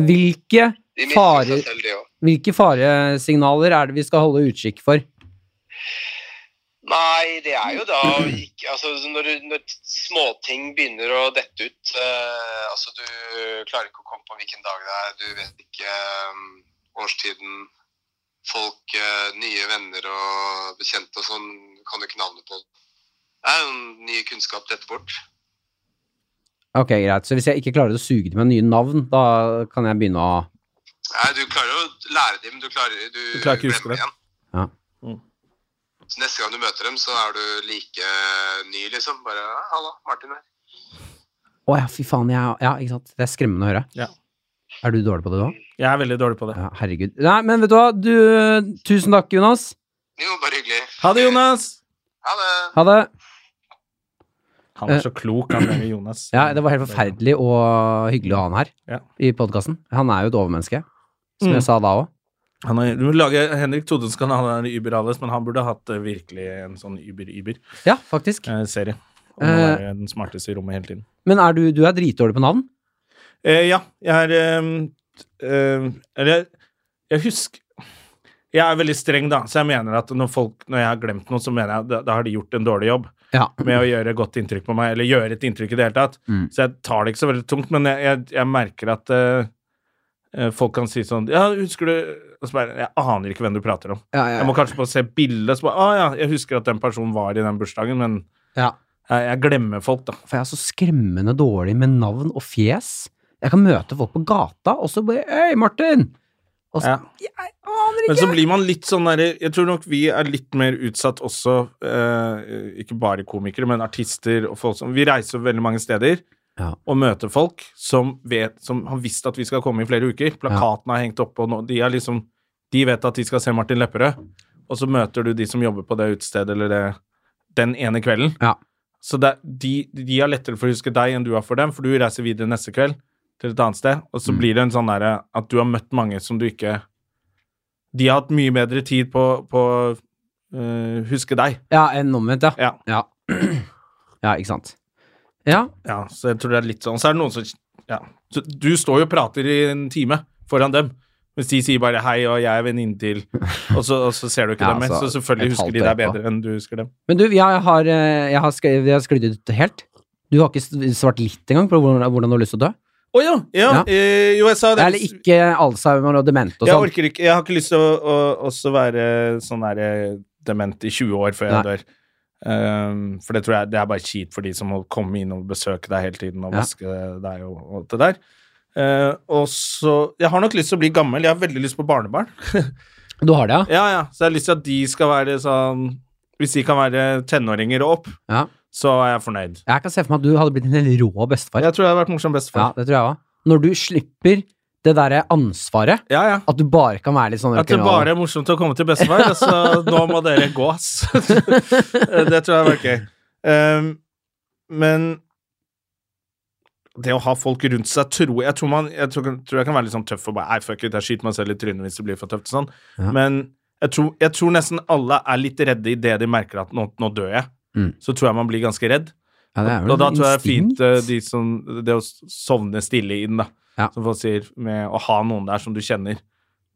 Speaker 1: Hvilke,
Speaker 3: de mister
Speaker 1: farer-
Speaker 3: seg selv, de òg.
Speaker 1: hvilke faresignaler er det vi skal holde utkikk for?
Speaker 3: Nei, det er
Speaker 2: [clears throat]
Speaker 3: jo da å ikke Altså når, du- når småting begynner å dette ut eh, Altså du klarer ikke å komme på hvilken dag det er, du vet ikke eh, årstiden Folk, eh, nye venner og bekjente og sånn kan du ikke navnet på. Det er jo en ny kunnskap dette bort.
Speaker 1: Ok, greit. Så hvis jeg ikke klarer å suge til meg nye navn, da kan jeg begynne å
Speaker 3: Nei, du klarer å lære dem, men du klarer, du
Speaker 2: Du klarer ikke å huske
Speaker 3: glemmer
Speaker 2: det.
Speaker 3: igjen.
Speaker 1: Ja.
Speaker 2: Mm.
Speaker 3: Så neste gang du møter dem, så er du like ny, liksom. Bare «Ja, 'Halla, Martin her'.
Speaker 1: Å ja, fy faen. Jeg, ja, ikke sant. Det er skremmende å høre.
Speaker 2: Ja.
Speaker 1: Er du dårlig på det, du òg?
Speaker 2: [laughs] Jeg er veldig dårlig på det.
Speaker 1: Ja, herregud. Nei, men vet du hva? Du, tusen takk, Jonas.
Speaker 3: Jo, bare hyggelig.
Speaker 2: Ha det, Jonas!
Speaker 3: Ha det.
Speaker 1: Ha det.
Speaker 2: Han er så klok, han der Jonas.
Speaker 1: Eh. Ja, det var helt forferdelig og hyggelig å ha han her
Speaker 2: Ja.
Speaker 1: i podkasten. Han er jo et overmenneske, som
Speaker 2: Mm.
Speaker 1: jeg sa da òg.
Speaker 2: Han er, du må lage, Henrik Todesen kan ha en Uber-Alice, men han burde hatt eh, virkelig en sånn Uber-Uber-serie.
Speaker 1: Ja, faktisk.
Speaker 2: Om å
Speaker 1: Eh.
Speaker 2: være den smarteste i rommet hele tiden.
Speaker 1: Men er du, du er dritdårlig på navn?
Speaker 2: Eh, ja, jeg er ehm, ehm, Eller jeg, jeg husker Jeg er veldig streng, da, så jeg mener at når folk Når jeg har glemt noe, så mener jeg at da, da har de gjort en dårlig jobb
Speaker 1: Ja.
Speaker 2: med å gjøre godt inntrykk på meg, eller gjøre et inntrykk i det hele tatt.
Speaker 1: Mm.
Speaker 2: Så jeg tar det ikke så veldig tungt, men jeg, jeg, jeg merker at eh, eh, folk kan si sånn Ja, husker du Og så bare Jeg aner ikke hvem du prater om.
Speaker 1: Ja,
Speaker 2: Jeg må kanskje bare se bildet, så bare Å ja, jeg husker at den personen var i den bursdagen, men
Speaker 1: ja.
Speaker 2: jeg, jeg glemmer folk, da.
Speaker 1: For jeg er så skremmende dårlig med navn og fjes. Jeg kan møte folk på gata, og så bare Hei, Martin! Og så, Jeg aner
Speaker 2: Men
Speaker 1: ikke!
Speaker 2: så blir man litt sånn derre Jeg tror nok vi er litt mer utsatt også, eh, ikke bare komikere, men artister og folk som Vi reiser jo veldig mange steder
Speaker 1: Ja.
Speaker 2: og møter folk som, vet, som har visst at vi skal komme i flere uker. Plakaten er hengt oppe, og nå, de, er liksom, de vet at de skal se Martin Lepperød. Og så møter du de som jobber på det utestedet eller det, den ene kvelden.
Speaker 1: Ja.
Speaker 2: Så det, de, de har lettere for å huske deg enn du har for dem, for du reiser videre neste kveld til et annet sted, og så
Speaker 1: Mm.
Speaker 2: blir det en sånn derre at du har møtt mange som du ikke De har hatt mye bedre tid på å huske deg.
Speaker 1: Ja, en omvendt, ja.
Speaker 2: Ja.
Speaker 1: ja. [clears throat] Ja, ikke sant. Ja.
Speaker 2: Ja, så jeg tror det er litt sånn. Så er det noen som ja. så Du står jo og prater i en time foran dem. Hvis de sier bare 'hei, og jeg er venninne [laughs] til', og så, og så ser du ikke
Speaker 1: Ja,
Speaker 2: dem mer.
Speaker 1: altså,
Speaker 2: Så selvfølgelig
Speaker 1: et
Speaker 2: husker de
Speaker 1: halvt
Speaker 2: deg
Speaker 1: år etterpå.
Speaker 2: bedre enn du husker dem.
Speaker 1: Men du, jeg har, eh, jeg har, sk- jeg har sklidd ut helt. Du har ikke svart litt engang på hvordan, hvordan du har lyst til å dø?
Speaker 2: Å ja! ja,
Speaker 1: Ja.
Speaker 2: eh, jo, jeg sa det.
Speaker 1: Eller ikke alzheimer og dement og
Speaker 2: jeg
Speaker 1: sånn?
Speaker 2: orker ikke Jeg har ikke lyst til å, å også være sånn der eh, dement i 20 år før jeg
Speaker 1: Nei.
Speaker 2: dør. Ehm, for det tror jeg det er bare kjipt for de som må komme inn og besøke deg hele tiden og
Speaker 1: Ja.
Speaker 2: vaske deg og, og alt det der. Eh, og så Jeg har nok lyst til å bli gammel. Jeg har veldig lyst på barnebarn.
Speaker 1: Du har det, ja?
Speaker 2: Ja, ja. Så jeg har lyst til at de skal være sånn Hvis de kan være tenåringer og opp,
Speaker 1: Ja.
Speaker 2: så er jeg fornøyd.
Speaker 1: Jeg kan se for meg at du hadde blitt en helt rå bestefar. Ja,
Speaker 2: Jeg tror jeg hadde vært morsom bestefar.
Speaker 1: det tror jeg òg. Når du slipper det derre ansvaret,
Speaker 2: Ja, ja.
Speaker 1: at du bare kan være litt sånn
Speaker 2: At det
Speaker 1: rock'n'roll.
Speaker 2: bare er morsomt å komme til bestefar.
Speaker 1: [laughs]
Speaker 2: altså, nå må dere gå, ass. Eh, det tror jeg var gøy. Um, men det å ha folk rundt seg tror Jeg tror, man, jeg tror, tror jeg kan være litt sånn tøff og bare Nei, fuck it, jeg skyter meg selv i trynet hvis det blir for tøft. og Sånn.
Speaker 1: Ja.
Speaker 2: Men jeg tror, jeg tror nesten alle er litt redde idet de merker at nå, nå dør jeg.
Speaker 1: Mm.
Speaker 2: Så tror jeg man blir ganske redd.
Speaker 1: Ja, det er
Speaker 2: Og
Speaker 1: vel
Speaker 2: da tror jeg det er
Speaker 1: instinkt.
Speaker 2: fint eh, de som, det å sovne stille inn, da.
Speaker 1: Ja.
Speaker 2: Som folk sier, med å ha noen der som du kjenner,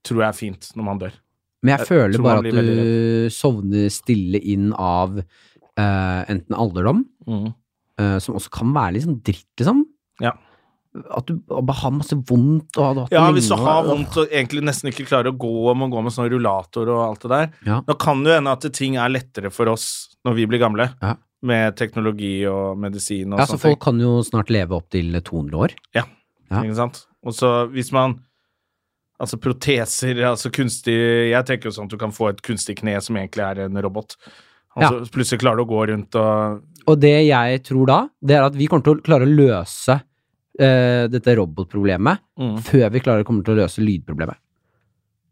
Speaker 2: tror jeg er fint når man dør.
Speaker 1: Men jeg,
Speaker 2: jeg
Speaker 1: føler
Speaker 2: tror
Speaker 1: bare
Speaker 2: eh, man
Speaker 1: at
Speaker 2: blir veldig
Speaker 1: du sovner stille inn av eh, enten alderdom, eh, som også kan være litt sånn dritt, liksom.
Speaker 2: Ja.
Speaker 1: At du bare har masse vondt og har hatt det
Speaker 2: Ja, hvis du
Speaker 1: lenge,
Speaker 2: har
Speaker 1: og-
Speaker 2: vondt og egentlig nesten ikke klarer å gå og må gå med sånn rullator og alt det der,
Speaker 1: Ja.
Speaker 2: da kan det jo hende at ting er lettere for oss når vi blir gamle,
Speaker 1: Ja.
Speaker 2: med teknologi og medisin og
Speaker 1: Ja, så
Speaker 2: sånne
Speaker 1: folk kan jo snart leve opp til 200 år. ja.
Speaker 2: ting. Ikke sant? Og så hvis man Altså proteser, altså kunstig Jeg tenker jo sånn at du kan få et kunstig kne som egentlig er en robot. Altså, Plutselig klarer du å gå rundt og
Speaker 1: Og det jeg tror da, det er at vi kommer til å klare å løse eh, dette robotproblemet
Speaker 2: Mm.
Speaker 1: før vi klarer kommer til å løse lydproblemet.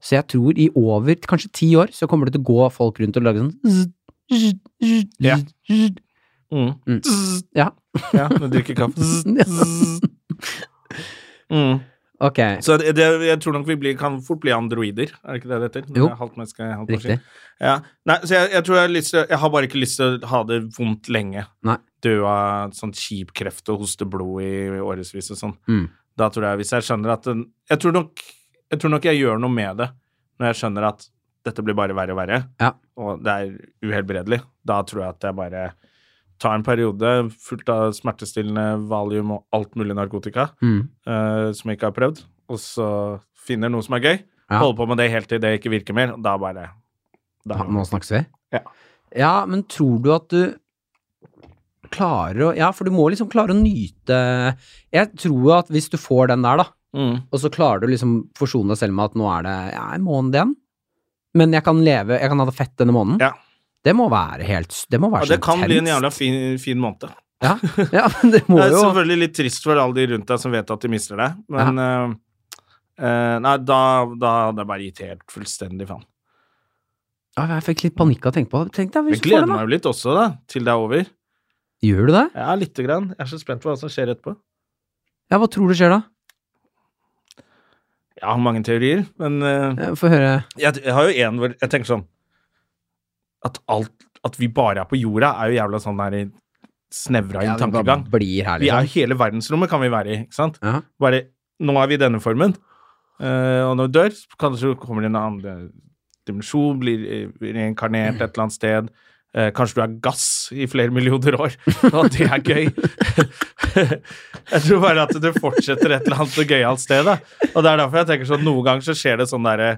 Speaker 1: Så jeg tror i over kanskje ti år så kommer det til å gå folk rundt og lage sånn zzz, zzz, zzz,
Speaker 2: Ja.
Speaker 1: zzz.
Speaker 2: Mm.
Speaker 1: Mm.
Speaker 2: Zzz.
Speaker 1: Ja.
Speaker 2: ja. Når du drikker
Speaker 1: [laughs]
Speaker 2: kaffe. Zzz. Zzz. Mm.
Speaker 1: Ok,
Speaker 2: Så det, det, jeg tror nok vi blir, kan fort bli androider, er det ikke det det heter?
Speaker 1: Jo.
Speaker 2: Det er Halvt menneske, halvt maskin.
Speaker 1: riktig.
Speaker 2: Ja. Nei, så jeg, jeg tror jeg har lyst til Jeg har bare ikke lyst til å ha det vondt lenge.
Speaker 1: Nei.
Speaker 2: Dø av sånn kjip kreft og hoste blod i, i årevis og sånn.
Speaker 1: Mm.
Speaker 2: Da tror jeg, hvis jeg skjønner at den, jeg, tror nok, jeg tror nok jeg gjør noe med det når jeg skjønner at dette blir bare verre og verre,
Speaker 1: Ja.
Speaker 2: og det er uhelbredelig. Da tror jeg at jeg bare tar en periode fullt av smertestillende valium og alt mulig narkotika
Speaker 1: Mm.
Speaker 2: eh, som jeg ikke har prøvd, og så finner noe som er gøy.
Speaker 1: Ja.
Speaker 2: Holder på med det helt til det ikke virker mer. og Da bare da,
Speaker 1: Da, nå snakkes vi.
Speaker 2: Ja.
Speaker 1: ja, men tror du at du klarer å Ja, for du må liksom klare å nyte Jeg tror at hvis du får den der, da,
Speaker 2: Mm.
Speaker 1: og så klarer du liksom forsone deg selv med at nå er det ja, en måned igjen, men jeg kan leve Jeg kan ha det fett denne måneden.
Speaker 2: Ja.
Speaker 1: Det må være helt Det må
Speaker 2: Ja,
Speaker 1: være
Speaker 2: det kan bli en
Speaker 1: intenst.
Speaker 2: jævla fin, fin måned.
Speaker 1: Ja, [laughs] men det må
Speaker 2: Det er
Speaker 1: jo
Speaker 2: selvfølgelig litt trist for alle de rundt deg som vet at de mister deg, men eh, eh, Nei, da, da hadde jeg bare gitt helt fullstendig faen.
Speaker 1: Ja, Jeg fikk litt panikk av å tenke på det. Tenk deg hvis du
Speaker 2: Jeg
Speaker 1: får
Speaker 2: gleder
Speaker 1: det,
Speaker 2: meg
Speaker 1: da.
Speaker 2: jo litt også, da, til det er over.
Speaker 1: Gjør du det?
Speaker 2: Ja, lite grann. Jeg er så spent på hva som skjer etterpå.
Speaker 1: Ja, hva tror du skjer da?
Speaker 2: Jeg har mange teorier, men eh,
Speaker 1: Eh, Få høre.
Speaker 2: jeg, jeg har jo en hvor jeg tenker sånn At alt At vi bare er på jorda, er jo jævla sånn der i- snevra inn
Speaker 1: Ja, vi bare
Speaker 2: tankegang.
Speaker 1: blir her,
Speaker 2: Vi er
Speaker 1: liksom.
Speaker 2: hele verdensrommet kan vi være i, ikke sant?
Speaker 1: Ja.
Speaker 2: Bare, nå er vi i denne formen, eh, og når vi dør, så kanskje det kommer det en annen eh, dimensjon, blir eh, reinkarnert et eller annet sted. Eh, kanskje du er gass i flere millioner år, [laughs] og det er gøy. [laughs] jeg tror bare at du fortsetter et eller annet gøyalt sted, da. Og det er derfor jeg tenker sånn, noen ganger så skjer det sånn derre,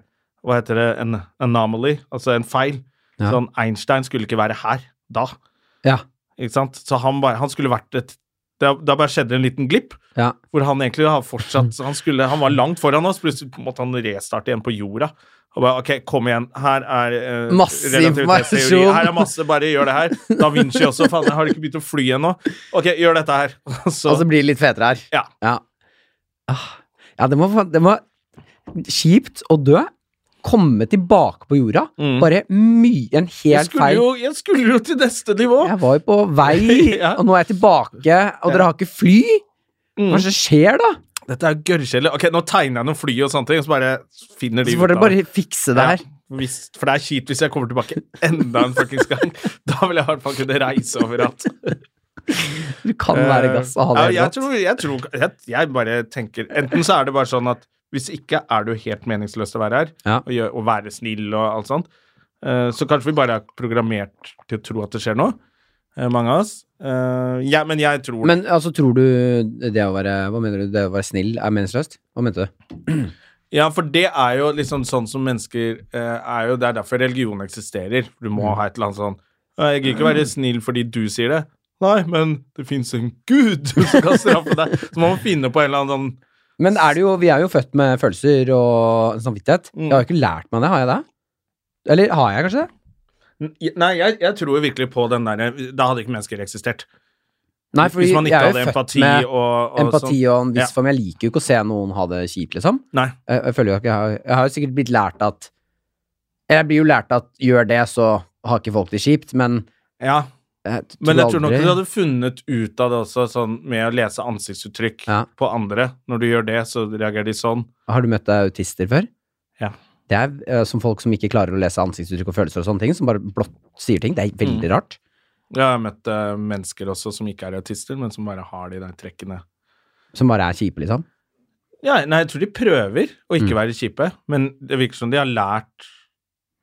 Speaker 2: hva heter det, en anomaly, altså en feil.
Speaker 1: Ja.
Speaker 2: Sånn, Einstein skulle ikke være her, da.
Speaker 1: Ja.
Speaker 2: Ikke sant? Så han, bare, han skulle vært et Da bare skjedde en liten glipp,
Speaker 1: Ja.
Speaker 2: hvor han egentlig
Speaker 1: [laughs]
Speaker 2: har fortsatt han, skulle, han var langt foran oss, plutselig måtte han restarte igjen på jorda. Og bare, ok, kom igjen, her er eh,
Speaker 1: Masse
Speaker 2: relativitetsteori.
Speaker 1: informasjon.
Speaker 2: Her er masse, bare gjør det her. Da Vinci også, faen, jeg har ikke begynt å fly ennå. Ok, gjør dette her. [laughs] Så,
Speaker 1: Og så blir Altså, det litt fetere her.
Speaker 2: Ja.
Speaker 1: Ja, Ah. ja det, må, det må Kjipt å dø. Komme tilbake på jorda.
Speaker 2: Mm.
Speaker 1: Bare mye En
Speaker 2: jeg,
Speaker 1: helt
Speaker 2: skulle
Speaker 1: feil
Speaker 2: jo, jeg skulle jo til neste nivå!
Speaker 1: Jeg var jo på vei,
Speaker 2: [laughs] Ja.
Speaker 1: og nå er jeg tilbake, og dere har ikke fly. Hva er
Speaker 2: Mm.
Speaker 1: det som skjer, da?
Speaker 2: Dette er gørrkjedelig. Ok, nå tegner jeg noen fly og sånne ting, og så bare finner de
Speaker 1: Så får
Speaker 2: ut
Speaker 1: dere bare fikse det her.
Speaker 2: Ja, hvis, for det er kjipt hvis jeg kommer tilbake enda en fuckings gang. [laughs] Da vil jeg i hvert fall kunne reise overalt.
Speaker 1: Du kan være gass og ha det
Speaker 2: Eh, Ja,
Speaker 1: helt
Speaker 2: jeg,
Speaker 1: rått.
Speaker 2: tror, jeg, tror, jeg, jeg bare tenker Enten så er det bare sånn at hvis ikke er det jo helt meningsløst å være her,
Speaker 1: Ja.
Speaker 2: og, gjø- og være snill og alt sånt. Eh, Så kanskje vi bare er programmert til å tro at det skjer noe, eh, mange av oss. Eh, Ja, men jeg tror
Speaker 1: Men altså, tror du det å være Hva mener du? Det å være snill er meningsløst? Hva mente du?
Speaker 2: Ja, for det er jo liksom sånn som mennesker eh, er jo, Det er derfor religion eksisterer. Du
Speaker 1: Mm.
Speaker 2: må ha et eller annet sånn «Nei, Jeg gidder ikke være snill fordi du sier det. Nei, men det fins en gud [laughs] som kan straffe deg. Så man må finne på en eller annen sånn
Speaker 1: Men er det jo, vi er jo født med følelser og samvittighet.
Speaker 2: Mm.
Speaker 1: Jeg har jo ikke lært meg det, har jeg det? Eller har jeg kanskje det?
Speaker 2: Nei, jeg, jeg tror jo virkelig på den derre Da hadde ikke mennesker eksistert.
Speaker 1: Nei, fordi
Speaker 2: Hvis man ikke
Speaker 1: jeg er
Speaker 2: hadde
Speaker 1: jo født
Speaker 2: empati
Speaker 1: med
Speaker 2: og, og
Speaker 1: empati
Speaker 2: sånn.
Speaker 1: og en viss
Speaker 2: Ja.
Speaker 1: familie. Jeg liker jo ikke å se noen ha det kjipt, liksom.
Speaker 2: Nei.
Speaker 1: Jeg, jeg føler jo ikke jeg har, jeg har jo sikkert blitt lært at Jeg blir jo lært at gjør det, så har ikke folk det kjipt, men
Speaker 2: Ja.
Speaker 1: jeg t-
Speaker 2: Men jeg tror nok
Speaker 1: aldri-
Speaker 2: du hadde funnet ut av det også, sånn med å lese ansiktsuttrykk
Speaker 1: Ja.
Speaker 2: på andre. Når du gjør det, så reagerer de sånn.
Speaker 1: Har du møtt autister før?
Speaker 2: Ja.
Speaker 1: Det er eh, som folk som ikke klarer å lese ansiktsuttrykk og følelser og sånne ting, som bare blått sier ting. Det er veldig
Speaker 2: Mm.
Speaker 1: rart.
Speaker 2: Jeg har møtt eh, mennesker også som ikke er autister, men som bare har de der trekkene.
Speaker 1: Som bare er kjipe, liksom.
Speaker 2: Ja, nei, jeg tror de prøver å ikke
Speaker 1: Mm.
Speaker 2: være kjipe, men det virker som de har lært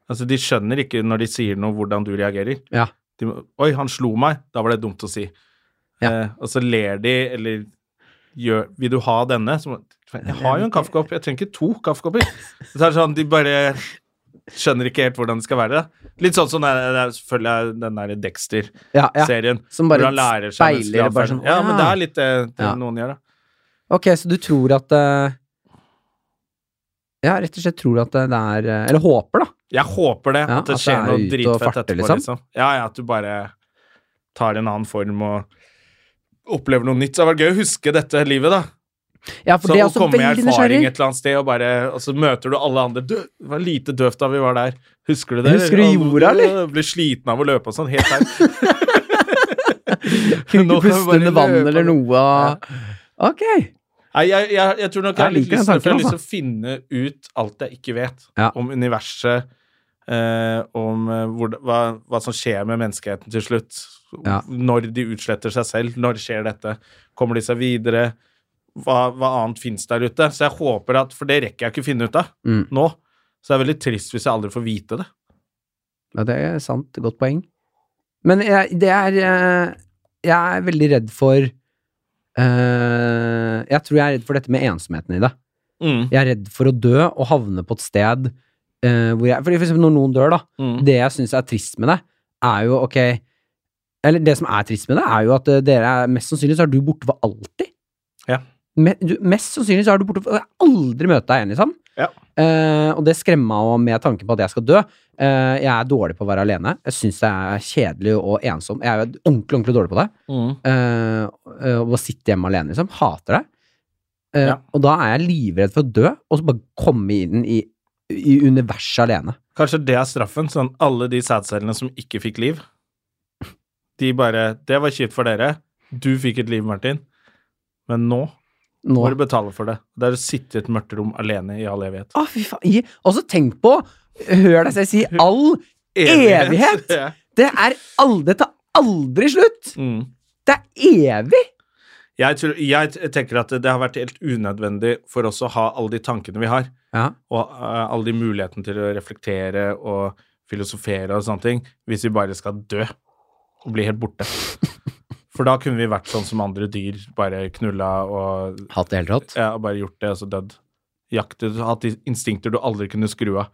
Speaker 2: Altså, de skjønner ikke når de sier noe, hvordan du reagerer.
Speaker 1: Ja.
Speaker 2: De, må, Oi, han slo meg. Da var det dumt å si.
Speaker 1: Ja.
Speaker 2: Eh, og så ler de, eller gjør Vil du ha denne? Så, må- jeg har jo en kaffekopp. Jeg trenger ikke to
Speaker 1: [laughs]
Speaker 2: kaffekopper. Så er det sånn, de bare skjønner ikke helt hvordan det skal være. Litt sånn som den der- selvfølgelig den der Dexter-serien.
Speaker 1: Ja, ja. Som bare
Speaker 2: Hvor han lærer seg
Speaker 1: speiler
Speaker 2: menneskelig
Speaker 1: det bare
Speaker 2: atferd.
Speaker 1: sånn,
Speaker 2: Ja,
Speaker 1: «Å, ja».
Speaker 2: men det er litt det, det
Speaker 1: Ja.
Speaker 2: noen gjør, da.
Speaker 1: Ok, så du tror at eh, Ja, rett og slett tror du at det er eh, Eller håper, da.
Speaker 2: Jeg håper
Speaker 1: Ja,
Speaker 2: det, at det
Speaker 1: at det
Speaker 2: skjer
Speaker 1: er ute
Speaker 2: noe
Speaker 1: og
Speaker 2: dritfett liksom.
Speaker 1: farte,
Speaker 2: etterpå, liksom.
Speaker 1: liksom.
Speaker 2: Ja, ja, at du bare tar en annen form og opplever noe nytt. Så det hadde vært gøy å huske dette livet, da.
Speaker 1: Ja, for
Speaker 2: Så
Speaker 1: det er
Speaker 2: å
Speaker 1: også
Speaker 2: komme i
Speaker 1: veldig
Speaker 2: erfaring
Speaker 1: nysgjerrig.
Speaker 2: et eller annet sted, og, bare, og så møter du alle andre. Du, det var lite døvt da vi var der. Husker du det?
Speaker 1: Husker du jorda, eller?
Speaker 2: Ja, Ble sliten av å løpe og sånn. Helt der.
Speaker 1: [laughs] Kunne
Speaker 2: Nå
Speaker 1: ikke
Speaker 2: kan vi
Speaker 1: puste
Speaker 2: bare
Speaker 1: under vann
Speaker 2: løpe.
Speaker 1: eller noe. Ok.
Speaker 2: Nei, jeg, jeg, jeg tror nok jeg,
Speaker 1: Jeg
Speaker 2: er litt
Speaker 1: liker den
Speaker 2: lysten, for jeg har
Speaker 1: tanken, altså.
Speaker 2: lyst til å finne ut alt jeg ikke vet
Speaker 1: Ja.
Speaker 2: om universet, eh, om eh, hvor, hva, hva som skjer med menneskeheten til slutt.
Speaker 1: Ja.
Speaker 2: Når de utsletter seg selv. Når skjer dette? Kommer de seg videre? Hva, hva annet fins der ute? Så jeg håper at For det rekker jeg ikke å finne ut av
Speaker 1: Mm.
Speaker 2: nå. Så det er veldig trist hvis jeg aldri får vite det.
Speaker 1: Ja, det er sant. Godt poeng. Men jeg, det er eh, Jeg er veldig redd for eh, Jeg tror jeg er redd for dette med ensomheten i det.
Speaker 2: Mm.
Speaker 1: Jeg er redd for å dø og havne på et sted eh, hvor jeg Fordi for eksempel når noen dør, da.
Speaker 2: Mm.
Speaker 1: Det jeg syns er trist med det, er jo ok Eller det som er trist med det, er jo at eh, dere er Mest sannsynlig så er du borte for alltid.
Speaker 2: Ja.
Speaker 1: Me, du, mest sannsynlig så er du borte for Jeg har aldri møte deg igjen, liksom.
Speaker 2: Ja.
Speaker 1: Eh, og det skremmer meg også med tanken på at jeg skal dø. Eh, jeg er dårlig på å være alene. Jeg syns det er kjedelig og ensom. Jeg er jo ordentlig, ordentlig dårlig på det.
Speaker 2: Mm.
Speaker 1: Eh, eh, og bare sitte hjemme alene, liksom. Hater det. Eh,
Speaker 2: Ja.
Speaker 1: Og da er jeg livredd for å dø, og så bare komme inn i, i universet alene.
Speaker 2: Kanskje det er straffen. Sånn alle de sædcellene som ikke fikk liv. De bare Det var kjipt for dere. Du fikk et liv, Martin. Men nå
Speaker 1: Nå
Speaker 2: må du betale for det. Det er å sitte i et mørkt rom alene i all evighet.
Speaker 1: Å, fy faen. I- Og så tenk på Hør deg selv [laughs] si all Evighet?
Speaker 2: Ja.
Speaker 1: Det er aldri Det tar aldri slutt!
Speaker 2: Mm.
Speaker 1: Det er evig!
Speaker 2: Jeg, tror, jeg t- tenker at det har vært helt unødvendig for oss å ha alle de tankene vi har,
Speaker 1: Ja.
Speaker 2: og eh, alle de mulighetene til å reflektere og filosofere og sånne ting, hvis vi bare skal dø og bli helt
Speaker 1: [laughs]
Speaker 2: borte. For da kunne vi vært sånn som andre dyr, bare knulla og
Speaker 1: Hatt det helt rått.
Speaker 2: Jeg har bare gjort det, og så dødd. Jaktet, hatt de instinkter du aldri kunne skru av.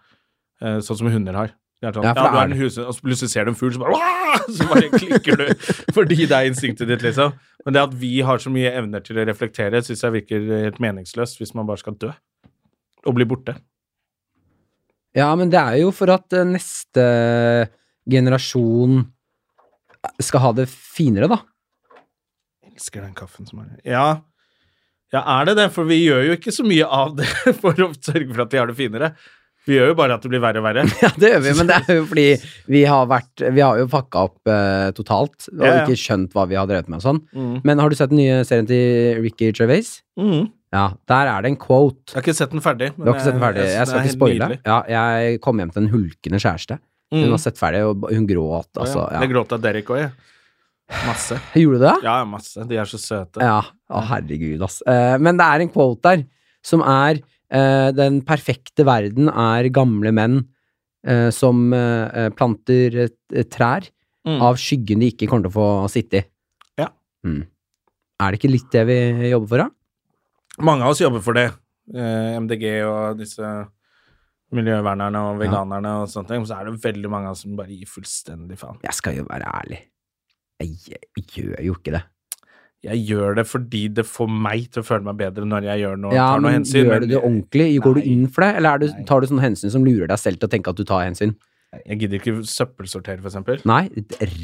Speaker 2: Eh, sånn som hunder har. De er sånn,
Speaker 1: Ja,
Speaker 2: ja,
Speaker 1: for
Speaker 2: du
Speaker 1: det er
Speaker 2: er en hushund, og så plutselig ser du en fugl, så bare, «Wah!» [laughs] så bare klikker du. fordi det er instinktet ditt, liksom. Men det at vi har så mye evner til å reflektere, syns jeg virker helt meningsløst hvis man bare skal dø. Og bli borte.
Speaker 1: Ja, men det er jo for at eh, neste generasjon eh, skal ha det finere, da.
Speaker 2: Elsker den kaffen som er Ja. ja, er det det? For vi gjør jo ikke så mye av det [laughs] for å sørge for at de har det finere. Vi gjør jo bare at det blir verre og verre.
Speaker 1: [laughs] Ja, det gjør vi, men det er [laughs] jo fordi vi har vært Vi har jo fucka opp eh, totalt, og
Speaker 2: Ja, ja.
Speaker 1: ikke skjønt hva vi har drevet med og sånn.
Speaker 2: Mm.
Speaker 1: Men har du sett den nye serien til Ricky Gervais?
Speaker 2: Mm.
Speaker 1: Ja, der er det en quote.
Speaker 2: Jeg har ikke sett den ferdig.
Speaker 1: Du har ikke sett den ferdig? Jeg skal ikke spoile. eh, Ja, jeg kom hjem til en hulkende kjæreste. Hun har sett ferdig, og hun gråt, altså. Ja.
Speaker 2: Mm. Jeg gråt av Derek òg, jeg. Masse.
Speaker 1: Gjorde du det?
Speaker 2: Ja, masse. De er så søte.
Speaker 1: Ja. Å, herregud, ass. Eh, men det er en quote der som er eh, Den perfekte verden er gamle menn eh, som eh, planter eh, trær
Speaker 2: Mm.
Speaker 1: av skyggen de ikke kommer til å få sitte i.
Speaker 2: Ja.
Speaker 1: Mm. Er det ikke litt det vi jobber for, da?
Speaker 2: Mange av oss jobber for det. Eh, MDG og disse miljøvernerne og veganerne og sånne ting. Men Så er det veldig mange av oss som bare gir fullstendig faen.
Speaker 1: Jeg skal jo være ærlig. Jeg gjør jo ikke det.
Speaker 2: Jeg gjør det fordi det får meg til å føle meg bedre når jeg gjør noe,
Speaker 1: Ja,
Speaker 2: tar noe
Speaker 1: men
Speaker 2: hensyn.
Speaker 1: gjør du det
Speaker 2: men
Speaker 1: ordentlig? Går du
Speaker 2: Nei.
Speaker 1: inn for det, eller er du,
Speaker 2: Nei.
Speaker 1: tar du sånne hensyn som lurer deg selv til å tenke at du tar hensyn?
Speaker 2: jeg gidder ikke søppelsortere, for eksempel.
Speaker 1: Nei,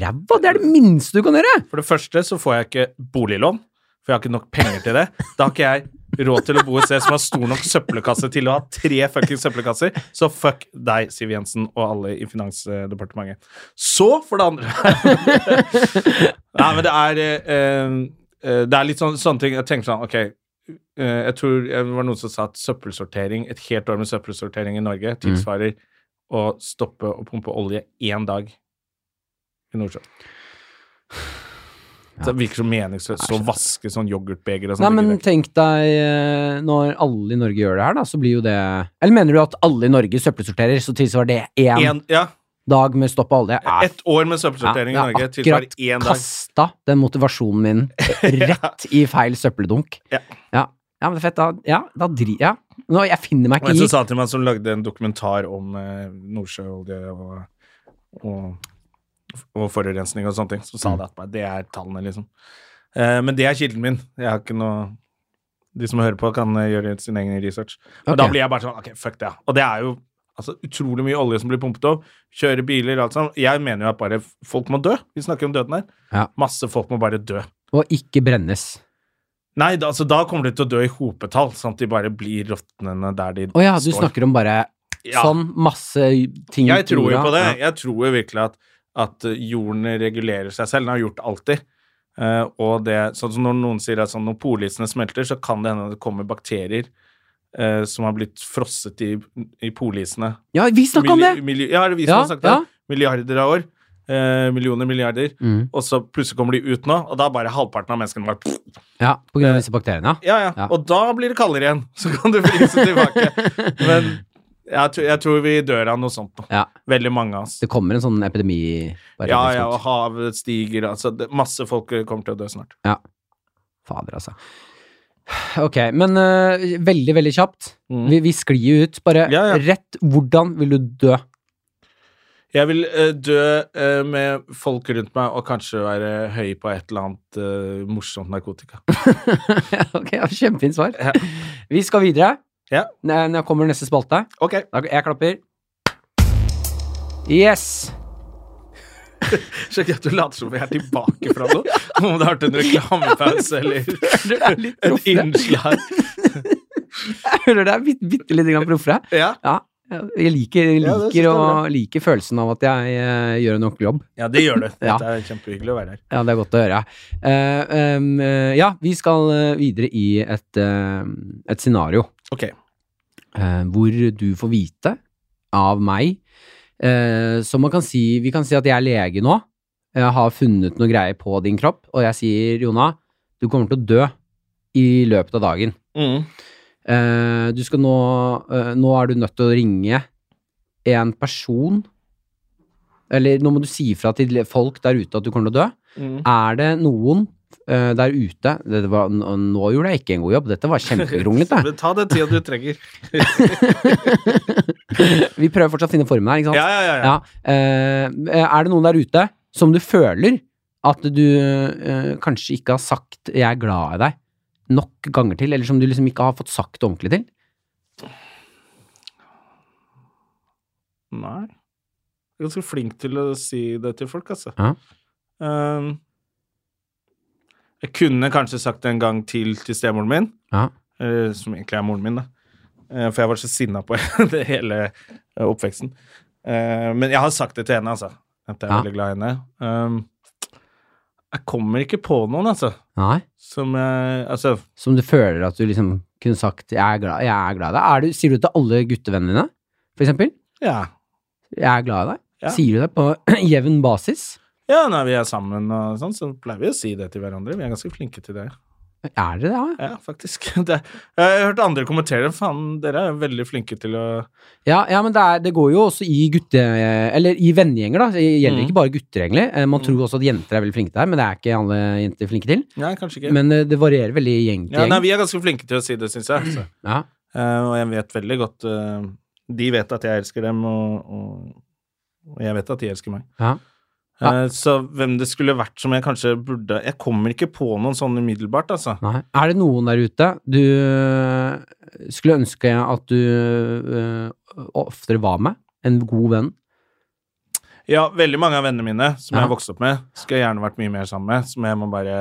Speaker 1: ræva! Det er det minste du kan gjøre!
Speaker 2: For det første så får jeg ikke boliglån, for jeg har ikke nok penger til det. Da har ikke jeg råd til å bo et sted som har stor nok søppelkasse til å ha tre fuckings søppelkasser. Så fuck deg, Siv Jensen og alle i Finansdepartementet. Så, for det andre [laughs] Nei, men det er eh, eh, Det er litt sånn, sånne ting Jeg tenker sånn, ok eh, Jeg tror det var noen som sa at søppelsortering, et helt år med søppelsortering i Norge,
Speaker 1: Mm.
Speaker 2: tilsvarer å stoppe å pumpe olje én dag i
Speaker 1: [sighs]
Speaker 2: Nordsjøen.
Speaker 1: Ja.
Speaker 2: Det virker så meningsløst. Så vaske sånn yoghurtbeger og
Speaker 1: Nei,
Speaker 2: sånn.
Speaker 1: men tenk deg eh, når alle i Norge gjør det her, da, så blir jo det Eller mener du at alle i Norge søppelsorterer, så tilsvarer det én
Speaker 2: En, ja,
Speaker 1: dag med stopp av olje? Ja,
Speaker 2: ett år med søppelsortering
Speaker 1: Ja,
Speaker 2: i
Speaker 1: det er
Speaker 2: Norge tilsvarer
Speaker 1: akkurat
Speaker 2: én dag.
Speaker 1: Kasta den motivasjonen
Speaker 2: [laughs]
Speaker 1: min rett i feil søppeldunk.
Speaker 2: Ja.
Speaker 1: ja. Ja, men det er fett. Da, ja, da dri... Ja. Nå, jeg finner meg
Speaker 2: Og en
Speaker 1: ikke i
Speaker 2: som sa til meg, som lagde en dokumentar om eh, nordsjøolje og, og, og forurensning og sånne ting, som sa
Speaker 1: Mm.
Speaker 2: det at bare, det er tallene, liksom. Eh, men det er kilden min. Jeg har ikke noe De som hører på, kan eh, gjøre sin egen research. Men da
Speaker 1: Ok.
Speaker 2: blir jeg bare sånn OK, fuck det. Og det er jo altså, utrolig mye olje som blir pumpet opp. Kjøre biler, alt sånt. Jeg mener jo at bare folk må dø. Vi snakker om døden her.
Speaker 1: Ja.
Speaker 2: Masse folk må bare dø.
Speaker 1: Og ikke brennes.
Speaker 2: Nei, da, altså, da kommer de til å dø i hopetall, sånn at de bare blir råtnende der de
Speaker 1: Å ja, du
Speaker 2: står.
Speaker 1: snakker om bare
Speaker 2: Ja.
Speaker 1: sånn masse ting
Speaker 2: Jeg tror jo
Speaker 1: jorda.
Speaker 2: på det.
Speaker 1: Ja.
Speaker 2: Jeg tror jo virkelig at, at eh, jorden regulerer seg selv. Den har gjort det alltid. Eh, og det, sånn som når noen sier at sånn, når polisene smelter, så kan det hende det kommer bakterier eh, som har blitt frosset i, i polisene.
Speaker 1: Ja, vi snakka om det!
Speaker 2: Milli- milli- ja, det er vi som
Speaker 1: Ja,
Speaker 2: har sagt det.
Speaker 1: ja.
Speaker 2: Milliarder av år. Eh, millioner, milliarder.
Speaker 1: Mm.
Speaker 2: Og så plutselig kommer de ut nå, og da er bare halvparten av menneskene bare
Speaker 1: ja, på grunn av disse bakteriene. ja.
Speaker 2: ja, ja,
Speaker 1: Ja.
Speaker 2: Og da blir det kaldere igjen. [laughs] Så kan du
Speaker 1: [laughs]
Speaker 2: fryse tilbake. Men jeg, tror- jeg tror vi dør av noe sånt nå.
Speaker 1: Ja.
Speaker 2: Veldig mange av oss.
Speaker 1: Det kommer en sånn epidemi. bare
Speaker 2: Ja,
Speaker 1: litt
Speaker 2: ja,
Speaker 1: sånt.
Speaker 2: og havet stiger altså, det, Masse folk kommer til å dø snart.
Speaker 1: Fader, altså. Ok, men øh, veldig, veldig kjapt. Vi, vi sklir jo ut. Bare
Speaker 2: Mm. Ja, ja.
Speaker 1: rett Hvordan vil du dø? [laughs]
Speaker 2: Jeg vil eh, dø eh, med folk rundt meg og kanskje være høy på et eller annet eh, morsomt narkotika.
Speaker 1: ok, ja, Kjempefint svar.
Speaker 2: Ja.
Speaker 1: Vi skal videre.
Speaker 2: Ja.
Speaker 1: Når når kommer neste spalte.
Speaker 2: Ok,
Speaker 1: Da- Jeg klapper. Yes!
Speaker 2: Sjekk at du later som vi er tilbake fra noe. Om det har vært en reklamepause
Speaker 1: [laughs]
Speaker 2: eller
Speaker 1: Føler det er litt [laughs]
Speaker 2: en
Speaker 1: proffere.
Speaker 2: innslag.
Speaker 1: Jeg føler det er bitte, bitte lite grann proffere.
Speaker 2: Ja,
Speaker 1: Ja, jeg liker,
Speaker 2: Ja, det synes jeg
Speaker 1: liker,
Speaker 2: er
Speaker 1: og, liker følelsen av at jeg eh, gjør en ordentlig jobb.
Speaker 2: ja det gjør du.
Speaker 1: Ja.
Speaker 2: Det er kjempehyggelig å være her.
Speaker 1: Ja, det er godt å høre. Eh, em, eh, ja, vi skal eh, videre i et, eh, et scenario
Speaker 2: Ok,
Speaker 1: eh, hvor du får vite av meg eh, Så man kan si Vi kan si at jeg er lege nå. Jeg har funnet noe greier på din kropp, og jeg sier, Jona, du kommer til å dø i løpet av dagen.
Speaker 2: mm.
Speaker 1: Eh, du skal nå eh, Nå er du nødt til å ringe en person Eller nå må du si ifra til folk der ute at du kommer til å dø.
Speaker 2: Mm.
Speaker 1: Er det noen eh, der ute dette var, n- Nå gjorde jeg ikke en god jobb, dette var
Speaker 2: [laughs]
Speaker 1: kjempegrunglete.
Speaker 2: Men Ta den tida du trenger.
Speaker 1: [laughs] Vi prøver fortsatt å finne formen her, ikke sant?
Speaker 2: Ja, ja, ja. ja.
Speaker 1: Eh, er det noen der ute som du føler at du eh, kanskje ikke har sagt 'jeg er glad i deg' nok ganger til, eller som du liksom ikke har fått sagt ordentlig til?
Speaker 2: Nei. Jeg er ganske flink til å si det til folk, altså.
Speaker 1: Ja.
Speaker 2: Ehm, jeg kunne kanskje sagt det en gang til til stemoren min,
Speaker 1: Ja.
Speaker 2: eh, som egentlig er moren min, da. Eh, for jeg var så sinna på [laughs] det hele eh, oppveksten. Eh, men jeg har sagt det til henne, altså. At jeg er
Speaker 1: Ja.
Speaker 2: veldig glad i henne. Ehm, jeg kommer ikke på noen, altså.
Speaker 1: Nei?
Speaker 2: Som jeg Altså,
Speaker 1: som du føler at du liksom kunne sagt 'jeg er glad, jeg er glad i deg'? Er du, sier du det til alle guttevennene dine, for eksempel?
Speaker 2: ja.
Speaker 1: 'Jeg er glad i deg'?
Speaker 2: Ja.
Speaker 1: Sier du det på [clears throat] jevn basis?
Speaker 2: Ja, når vi er sammen og sånn, så pleier vi å si det til hverandre. Vi er ganske flinke til det.
Speaker 1: Er dere det, ja?
Speaker 2: Ja, faktisk. [laughs] Det, jeg har hørt andre kommentere. Faen, dere er veldig flinke til å
Speaker 1: Ja, ja men det, er, det går jo også i gutte... Eller i vennegjenger, da. Det gjelder
Speaker 2: Mm.
Speaker 1: ikke bare gutter, egentlig. Eh, Man
Speaker 2: Mm.
Speaker 1: tror også at jenter er veldig flinke der, men det er ikke alle jenter flinke til.
Speaker 2: Nei, kanskje ikke.
Speaker 1: Men eh, det varierer veldig gjeng til
Speaker 2: ja, nei,
Speaker 1: gjeng. Mm.
Speaker 2: vi er ganske flinke til å si det, syns jeg. Så.
Speaker 1: Ja.
Speaker 2: Eh, og jeg vet veldig godt eh, De vet at jeg elsker dem, og, og, og jeg vet at de elsker meg.
Speaker 1: Ja.
Speaker 2: Eh, så hvem det skulle vært som jeg kanskje burde Jeg kommer ikke på noen sånn umiddelbart, altså.
Speaker 1: Nei. Er det noen der ute du eh, skulle ønske at du eh, oftere var med? En god venn?
Speaker 2: Ja, veldig mange av vennene mine som jeg
Speaker 1: Ja.
Speaker 2: har vokst opp med, skulle jeg gjerne vært mye mer sammen med, som jeg må bare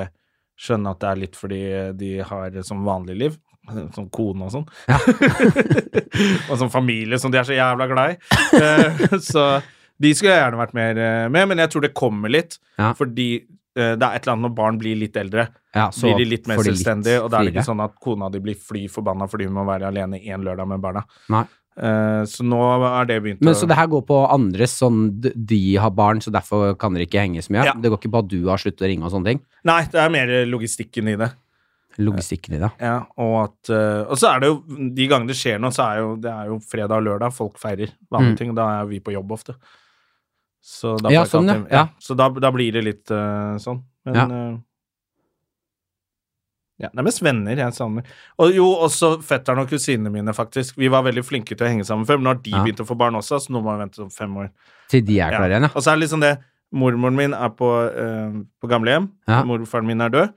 Speaker 2: skjønne at det er litt fordi de har et sånn vanlig liv. [laughs] Som kone og sånn. [laughs] og som familie som de er så jævla glad i. Eh, [laughs] så de skulle jeg gjerne vært mer eh, med, men jeg tror det kommer litt.
Speaker 1: Ja.
Speaker 2: Fordi eh, det er et eller annet når barn blir litt eldre,
Speaker 1: Ja, så
Speaker 2: blir de litt mer
Speaker 1: får de
Speaker 2: selvstendige, og da er det
Speaker 1: friere.
Speaker 2: ikke sånn at kona di blir fly forbanna fordi hun må være alene én lørdag med barna.
Speaker 1: Nei.
Speaker 2: Eh, så nå er det begynt
Speaker 1: Men
Speaker 2: å
Speaker 1: så det her går på andres sånn d- De har barn, så derfor kan dere ikke henge så mye.
Speaker 2: Ja.
Speaker 1: Det går ikke på at du har sluttet å ringe og sånne ting.
Speaker 2: Nei, det er mer logistikken i det.
Speaker 1: Logistikken i det.
Speaker 2: Ja, og at eh, Og så er det jo De gangene det skjer noe, så er jo det er jo fredag og lørdag folk feirer vanlige
Speaker 1: Mm.
Speaker 2: ting, og da er vi på jobb ofte. Så da, får
Speaker 1: Ja,
Speaker 2: jeg ikke
Speaker 1: sånn, ja.
Speaker 2: alltid-
Speaker 1: Ja.
Speaker 2: Så da, da blir det litt eh, sånn. Men
Speaker 1: Ja.
Speaker 2: ja. ja, det er mest venner jeg savner. Og jo, også fetteren og kusinene mine, faktisk. Vi var veldig flinke til å henge sammen før, men nå har de
Speaker 1: Ja.
Speaker 2: begynt å få barn også, så nå må vi vente sånn fem år.
Speaker 1: Til de er
Speaker 2: Ja.
Speaker 1: klare igjen, ja.
Speaker 2: Og så er det liksom det Mormoren min er på, eh, på gamlehjem.
Speaker 1: Ja.
Speaker 2: Morfaren min er død.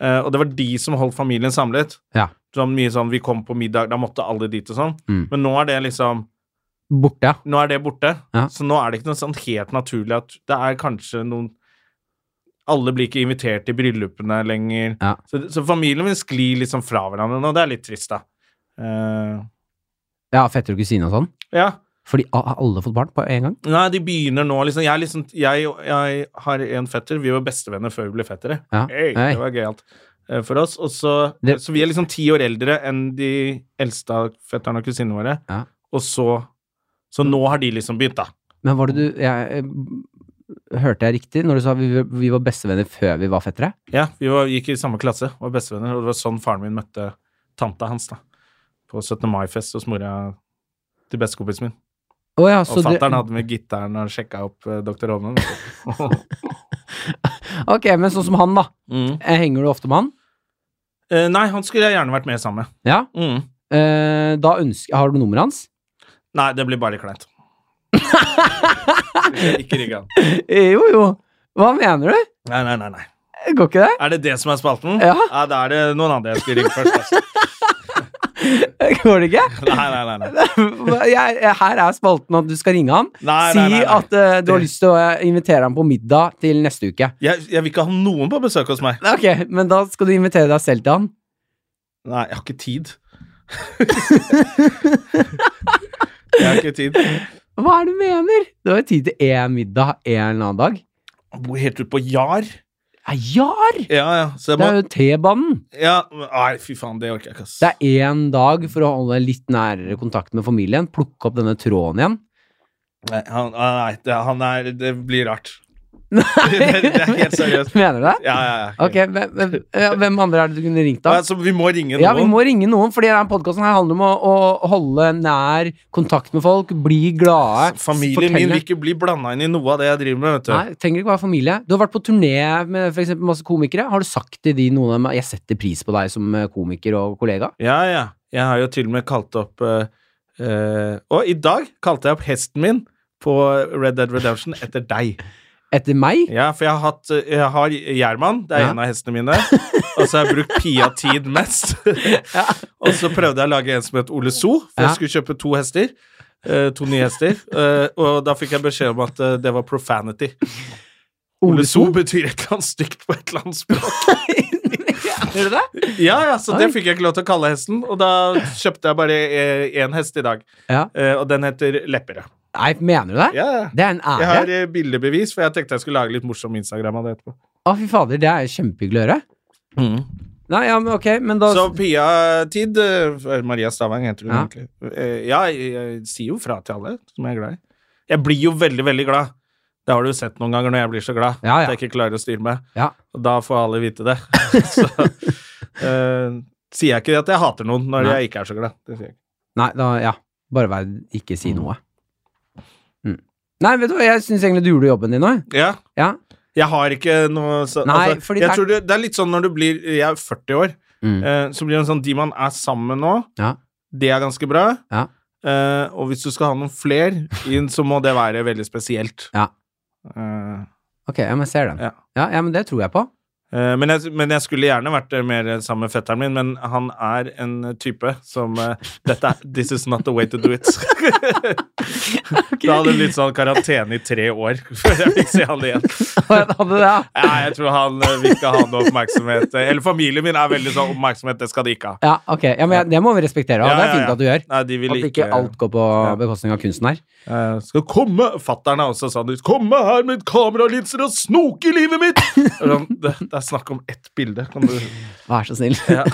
Speaker 2: Eh, og det var de som holdt familien samlet.
Speaker 1: Ja.
Speaker 2: Sånn mye sånn Vi kom på middag, da måtte alle dit og sånn.
Speaker 1: Mm.
Speaker 2: Men nå er det liksom
Speaker 1: Borte, ja.
Speaker 2: Nå er det borte.
Speaker 1: Ja.
Speaker 2: Så nå er det ikke noe sånn helt naturlig at det er kanskje noen Alle blir ikke invitert til bryllupene lenger.
Speaker 1: Ja.
Speaker 2: Så, så familien min sklir liksom fra hverandre nå. Det er litt trist, da. Eh,
Speaker 1: Ja, fetter og kusine og sånn.
Speaker 2: ja.
Speaker 1: Fordi a- har alle fått barn på en gang?
Speaker 2: Nei, de begynner nå, liksom. Jeg, er liksom, jeg, jeg har en fetter. Vi var bestevenner før vi ble fettere.
Speaker 1: Ja.
Speaker 2: Hey,
Speaker 1: Hei.
Speaker 2: Det var gøyalt eh, for oss. Og så,
Speaker 1: Det-
Speaker 2: så vi er liksom ti år eldre enn de eldste av fetterne og kusinene våre.
Speaker 1: Ja.
Speaker 2: Og så Så nå har de liksom begynt, da.
Speaker 1: Men var det du jeg, eh, Hørte jeg riktig når du sa vi, vi var bestevenner før vi var fettere?
Speaker 2: Ja, vi var, gikk i samme klasse, var bestevenner, og det var sånn faren min møtte tanta hans, da. På 17. mai-fest hos mora til bestekompisen min.
Speaker 1: Å ja,
Speaker 2: Og
Speaker 1: så du
Speaker 2: fatter'n hadde med gitaren og sjekka opp eh, Dr. Hovne.
Speaker 1: Ok, men sånn som han, da.
Speaker 2: [laughs] mm.
Speaker 1: Eh, Henger du ofte med han?
Speaker 2: Eh, nei, han skulle jeg gjerne vært med sammen med.
Speaker 1: Ja.
Speaker 2: Mm.
Speaker 1: Eh, da ønsker Har du nummeret hans?
Speaker 2: Nei, det blir bare litt
Speaker 1: [laughs]
Speaker 2: kleint. Ikke ikke rigg han.
Speaker 1: Eh, Jo, jo. Hva mener du?
Speaker 2: Nei, nei, nei, nei.
Speaker 1: Går ikke det?
Speaker 2: Er det det som er spalten?
Speaker 1: Ja. [laughs]
Speaker 2: Da er det noen andre jeg skulle ringe først. Altså.
Speaker 1: Går det ikke?
Speaker 2: Nei, nei, nei. nei. nei,
Speaker 1: Jeg, jeg- her er spalten at du skal ringe han.
Speaker 2: nei,
Speaker 1: si
Speaker 2: nei, nei.
Speaker 1: at eh, du har
Speaker 2: Det-
Speaker 1: lyst til å eh, invitere ham på middag til neste uke.
Speaker 2: Jeg, jeg vil ikke ha noen på besøk hos meg.
Speaker 1: Ok, men da skal du invitere deg selv til han.
Speaker 2: Nei, jeg har ikke
Speaker 1: [laughs]
Speaker 2: tid. jeg har ikke tid.
Speaker 1: Hva er det du mener? Det var jo tid til én middag en eller annen dag.
Speaker 2: Jeg bor helt ute på Jar.
Speaker 1: Ja, Jar!
Speaker 2: Ja, ja. Så jeg
Speaker 1: Det
Speaker 2: må
Speaker 1: er jo T-banen.
Speaker 2: ja. men- Nei, fy faen, det orker jeg ikke, ass.
Speaker 1: Det er én dag for å holde litt nærere kontakt med familien. Plukke opp denne tråden igjen.
Speaker 2: Nei, han, nei det, han er Det blir rart.
Speaker 1: [laughs] Nei,
Speaker 2: [laughs] Det- det er helt seriøst.
Speaker 1: [laughs] Mener du det?
Speaker 2: Ja, ja, ja.
Speaker 1: Ok, hvem, hvem- ja, hvem andre er det du kunne ringt
Speaker 2: Ja,
Speaker 1: da?
Speaker 2: så vi må ringe noen.
Speaker 1: Ja, vi må ringe noen, fordi denne podkasten handler om å, å holde nær kontakt med folk, bli glade.
Speaker 2: Familien min
Speaker 1: fortelle.
Speaker 2: vil ikke bli blanda inn i noe av det jeg driver med, vet du.
Speaker 1: Nei, trenger ikke være familie. Du har vært på turné med for eksempel masse komikere. Har du sagt til de noen av dem at jeg setter pris på deg som eh, komiker og kollega?
Speaker 2: Ja, ja. Jeg har jo til og med kalt opp eh, eh, Og i dag kalte jeg opp hesten min på Red Dead Redemption etter deg.
Speaker 1: Etter meg?
Speaker 2: Ja, for jeg har hatt eh, Jeg har Gjerman, det er
Speaker 1: Ja.
Speaker 2: en av hestene mine. Og så har jeg brukt Pia tid
Speaker 1: [laughs]
Speaker 2: mest. og så prøvde jeg å lage en som het Ole So, for
Speaker 1: Ja.
Speaker 2: jeg skulle kjøpe to hester. eh, to nye hester. eh, og da fikk jeg beskjed om at eh, det var profanity. Ole So
Speaker 1: [laughs]
Speaker 2: betyr et eller annet stygt på et eller annet språk.
Speaker 1: Hører du det?
Speaker 2: Ja, ja, Så
Speaker 1: Oi.
Speaker 2: det fikk jeg ikke lov til å kalle hesten, og da kjøpte jeg bare én hest i dag.
Speaker 1: Ja.
Speaker 2: Eh, og den heter Lepperød.
Speaker 1: Nei, mener du det?
Speaker 2: Ja, ja.
Speaker 1: Det er en
Speaker 2: Jeg
Speaker 1: ære.
Speaker 2: har eh, bildebevis, for jeg tenkte jeg skulle lage litt morsom Instagram av det etterpå.
Speaker 1: Å, fy fader, det er kjempehyggelig å høre. Nei, ja, men ok, men Mm. da
Speaker 2: Så Pia Tid, eh, Maria Stavang heter hun
Speaker 1: Ja.
Speaker 2: egentlig. Eh, Ja, jeg, jeg sier jo fra til alle som jeg er glad i. Jeg blir jo veldig, veldig glad. Det har du jo sett noen ganger når jeg blir så glad
Speaker 1: Ja, ja.
Speaker 2: at jeg ikke klarer å styre meg.
Speaker 1: Ja.
Speaker 2: Og da får alle vite det. [laughs] så eh, sier jeg ikke at jeg hater noen når
Speaker 1: Nei.
Speaker 2: jeg ikke er så glad. Det sier jeg ikke.
Speaker 1: Nei, da, ja. Bare vær Ikke si noe. Mm. Nei, vet du hva, jeg syns egentlig du gjorde jobben din nå. jeg.
Speaker 2: Ja.
Speaker 1: Ja.
Speaker 2: Jeg har ikke noe så,
Speaker 1: Nei,
Speaker 2: altså,
Speaker 1: fordi
Speaker 2: jeg
Speaker 1: det er-
Speaker 2: tror det, det er litt sånn når du blir Jeg er 40 år,
Speaker 1: Mm.
Speaker 2: eh, så blir det en sånn De man er sammen med nå,
Speaker 1: Ja.
Speaker 2: det er ganske bra.
Speaker 1: Ja.
Speaker 2: Eh, og hvis du skal ha noen fler inn, så må det være veldig spesielt.
Speaker 1: Ja.
Speaker 2: Eh,
Speaker 1: Ok, ja, men jeg ser den.
Speaker 2: Ja.
Speaker 1: Ja, ja, men det tror jeg på.
Speaker 2: eh, men, jeg, men jeg skulle gjerne vært eh, mer sammen med fetteren min, men han er en type som eh, dette er, This is not the way to
Speaker 1: [laughs]
Speaker 2: do it. Da hadde det blitt sånn karantene i tre år [laughs] før jeg fikk se han igjen.
Speaker 1: Hadde
Speaker 2: [laughs]
Speaker 1: det, ja.
Speaker 2: Nei, jeg tror han eh, vil ikke ha noe oppmerksomhet. Eller familien min er veldig sånn oppmerksomhet, det skal de ikke ha.
Speaker 1: Ja, ok. Ja, men jeg, det må vi respektere, og
Speaker 2: Ja,
Speaker 1: det er
Speaker 2: ja,
Speaker 1: fint
Speaker 2: ja.
Speaker 1: at du gjør.
Speaker 2: Nei, de vil
Speaker 1: At ikke alt går på bekostning av kunsten her.
Speaker 2: Eh, skal komme Fatteren er også sånn Komme her med kameralinser og snoke i livet mitt! Og sånn, det, det er snakk om ett bilde. Kan du
Speaker 1: Vær så snill.
Speaker 2: ja.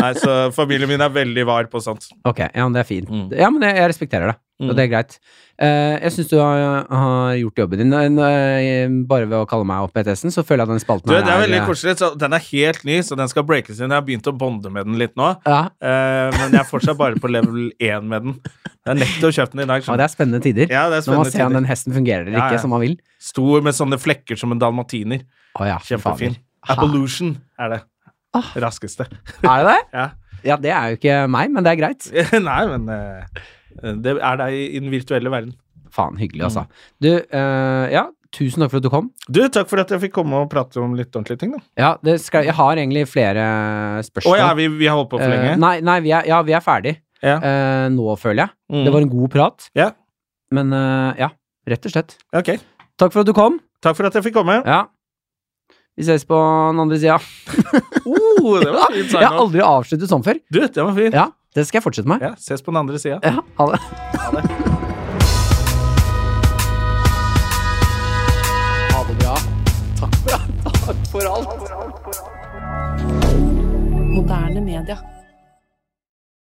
Speaker 2: Nei, så familien min er veldig var på sånt.
Speaker 1: [laughs] Ok, ja, men det er fint.
Speaker 2: Mm.
Speaker 1: Ja, men jeg, jeg respekterer det, og
Speaker 2: Mm.
Speaker 1: det er greit. Eh, jeg syns du har, har gjort jobben din. Nå- nå, eh, Bare ved å kalle meg opp ETS-en, så føler jeg at den spalten
Speaker 2: Du, det er veldig
Speaker 1: eh,
Speaker 2: koselig. Så den er helt ny, så den skal breakes inn. Jeg har begynt å bonde med den litt nå,
Speaker 1: Ja,
Speaker 2: eh, men jeg er fortsatt bare på level 1 med den. Jeg har nettopp kjøpt den i dag.
Speaker 1: og
Speaker 2: skjønner
Speaker 1: det er spennende tider.
Speaker 2: du. Ja, det er
Speaker 1: Nå må man se om
Speaker 2: spennende
Speaker 1: den hesten fungerer eller
Speaker 2: Ja,
Speaker 1: ikke,
Speaker 2: ja.
Speaker 1: som man vil.
Speaker 2: tider. Stor med sånne flekker som en dalmatiner.
Speaker 1: Å ja, fy
Speaker 2: Kjempefin.
Speaker 1: fader.
Speaker 2: Appolution er det.
Speaker 1: Ah.
Speaker 2: Raskeste. [laughs]
Speaker 1: Er det det?
Speaker 2: Ja.
Speaker 1: Ja, det er jo ikke meg, men det er greit.
Speaker 2: Nei, men eh, det er deg i den virtuelle verden.
Speaker 1: Faen, hyggelig, altså.
Speaker 2: Mm.
Speaker 1: Du, eh, ja, tusen takk for at du kom.
Speaker 2: Du, takk for at jeg fikk komme og prate om litt ordentlige ting, da.
Speaker 1: Ja, det skal, jeg har egentlig flere
Speaker 2: Å
Speaker 1: spørsmål.
Speaker 2: ja, vi, vi har holdt på for
Speaker 1: Eh,
Speaker 2: lenge.
Speaker 1: nei, nei vi er, ja, vi er ferdig
Speaker 2: Ja.
Speaker 1: eh, nå, føler jeg.
Speaker 2: Mm.
Speaker 1: Det var en god prat.
Speaker 2: Ja.
Speaker 1: Men eh, ja, rett og slett.
Speaker 2: Ok.
Speaker 1: Takk for at du kom. [laughs]
Speaker 2: Takk for at jeg fikk komme.
Speaker 1: Ja. Vi ses på den andre [laughs] sida.
Speaker 2: Oh, det var fint
Speaker 1: Jeg har
Speaker 2: sign-off.
Speaker 1: aldri avsluttet sånn før.
Speaker 2: Du, det var fint.
Speaker 1: Ja, det skal jeg fortsette med.
Speaker 2: Ja, ses på den andre sida.
Speaker 1: Ja, ha det. Ha det bra. Takk for, takk for alt.
Speaker 4: Moderne media.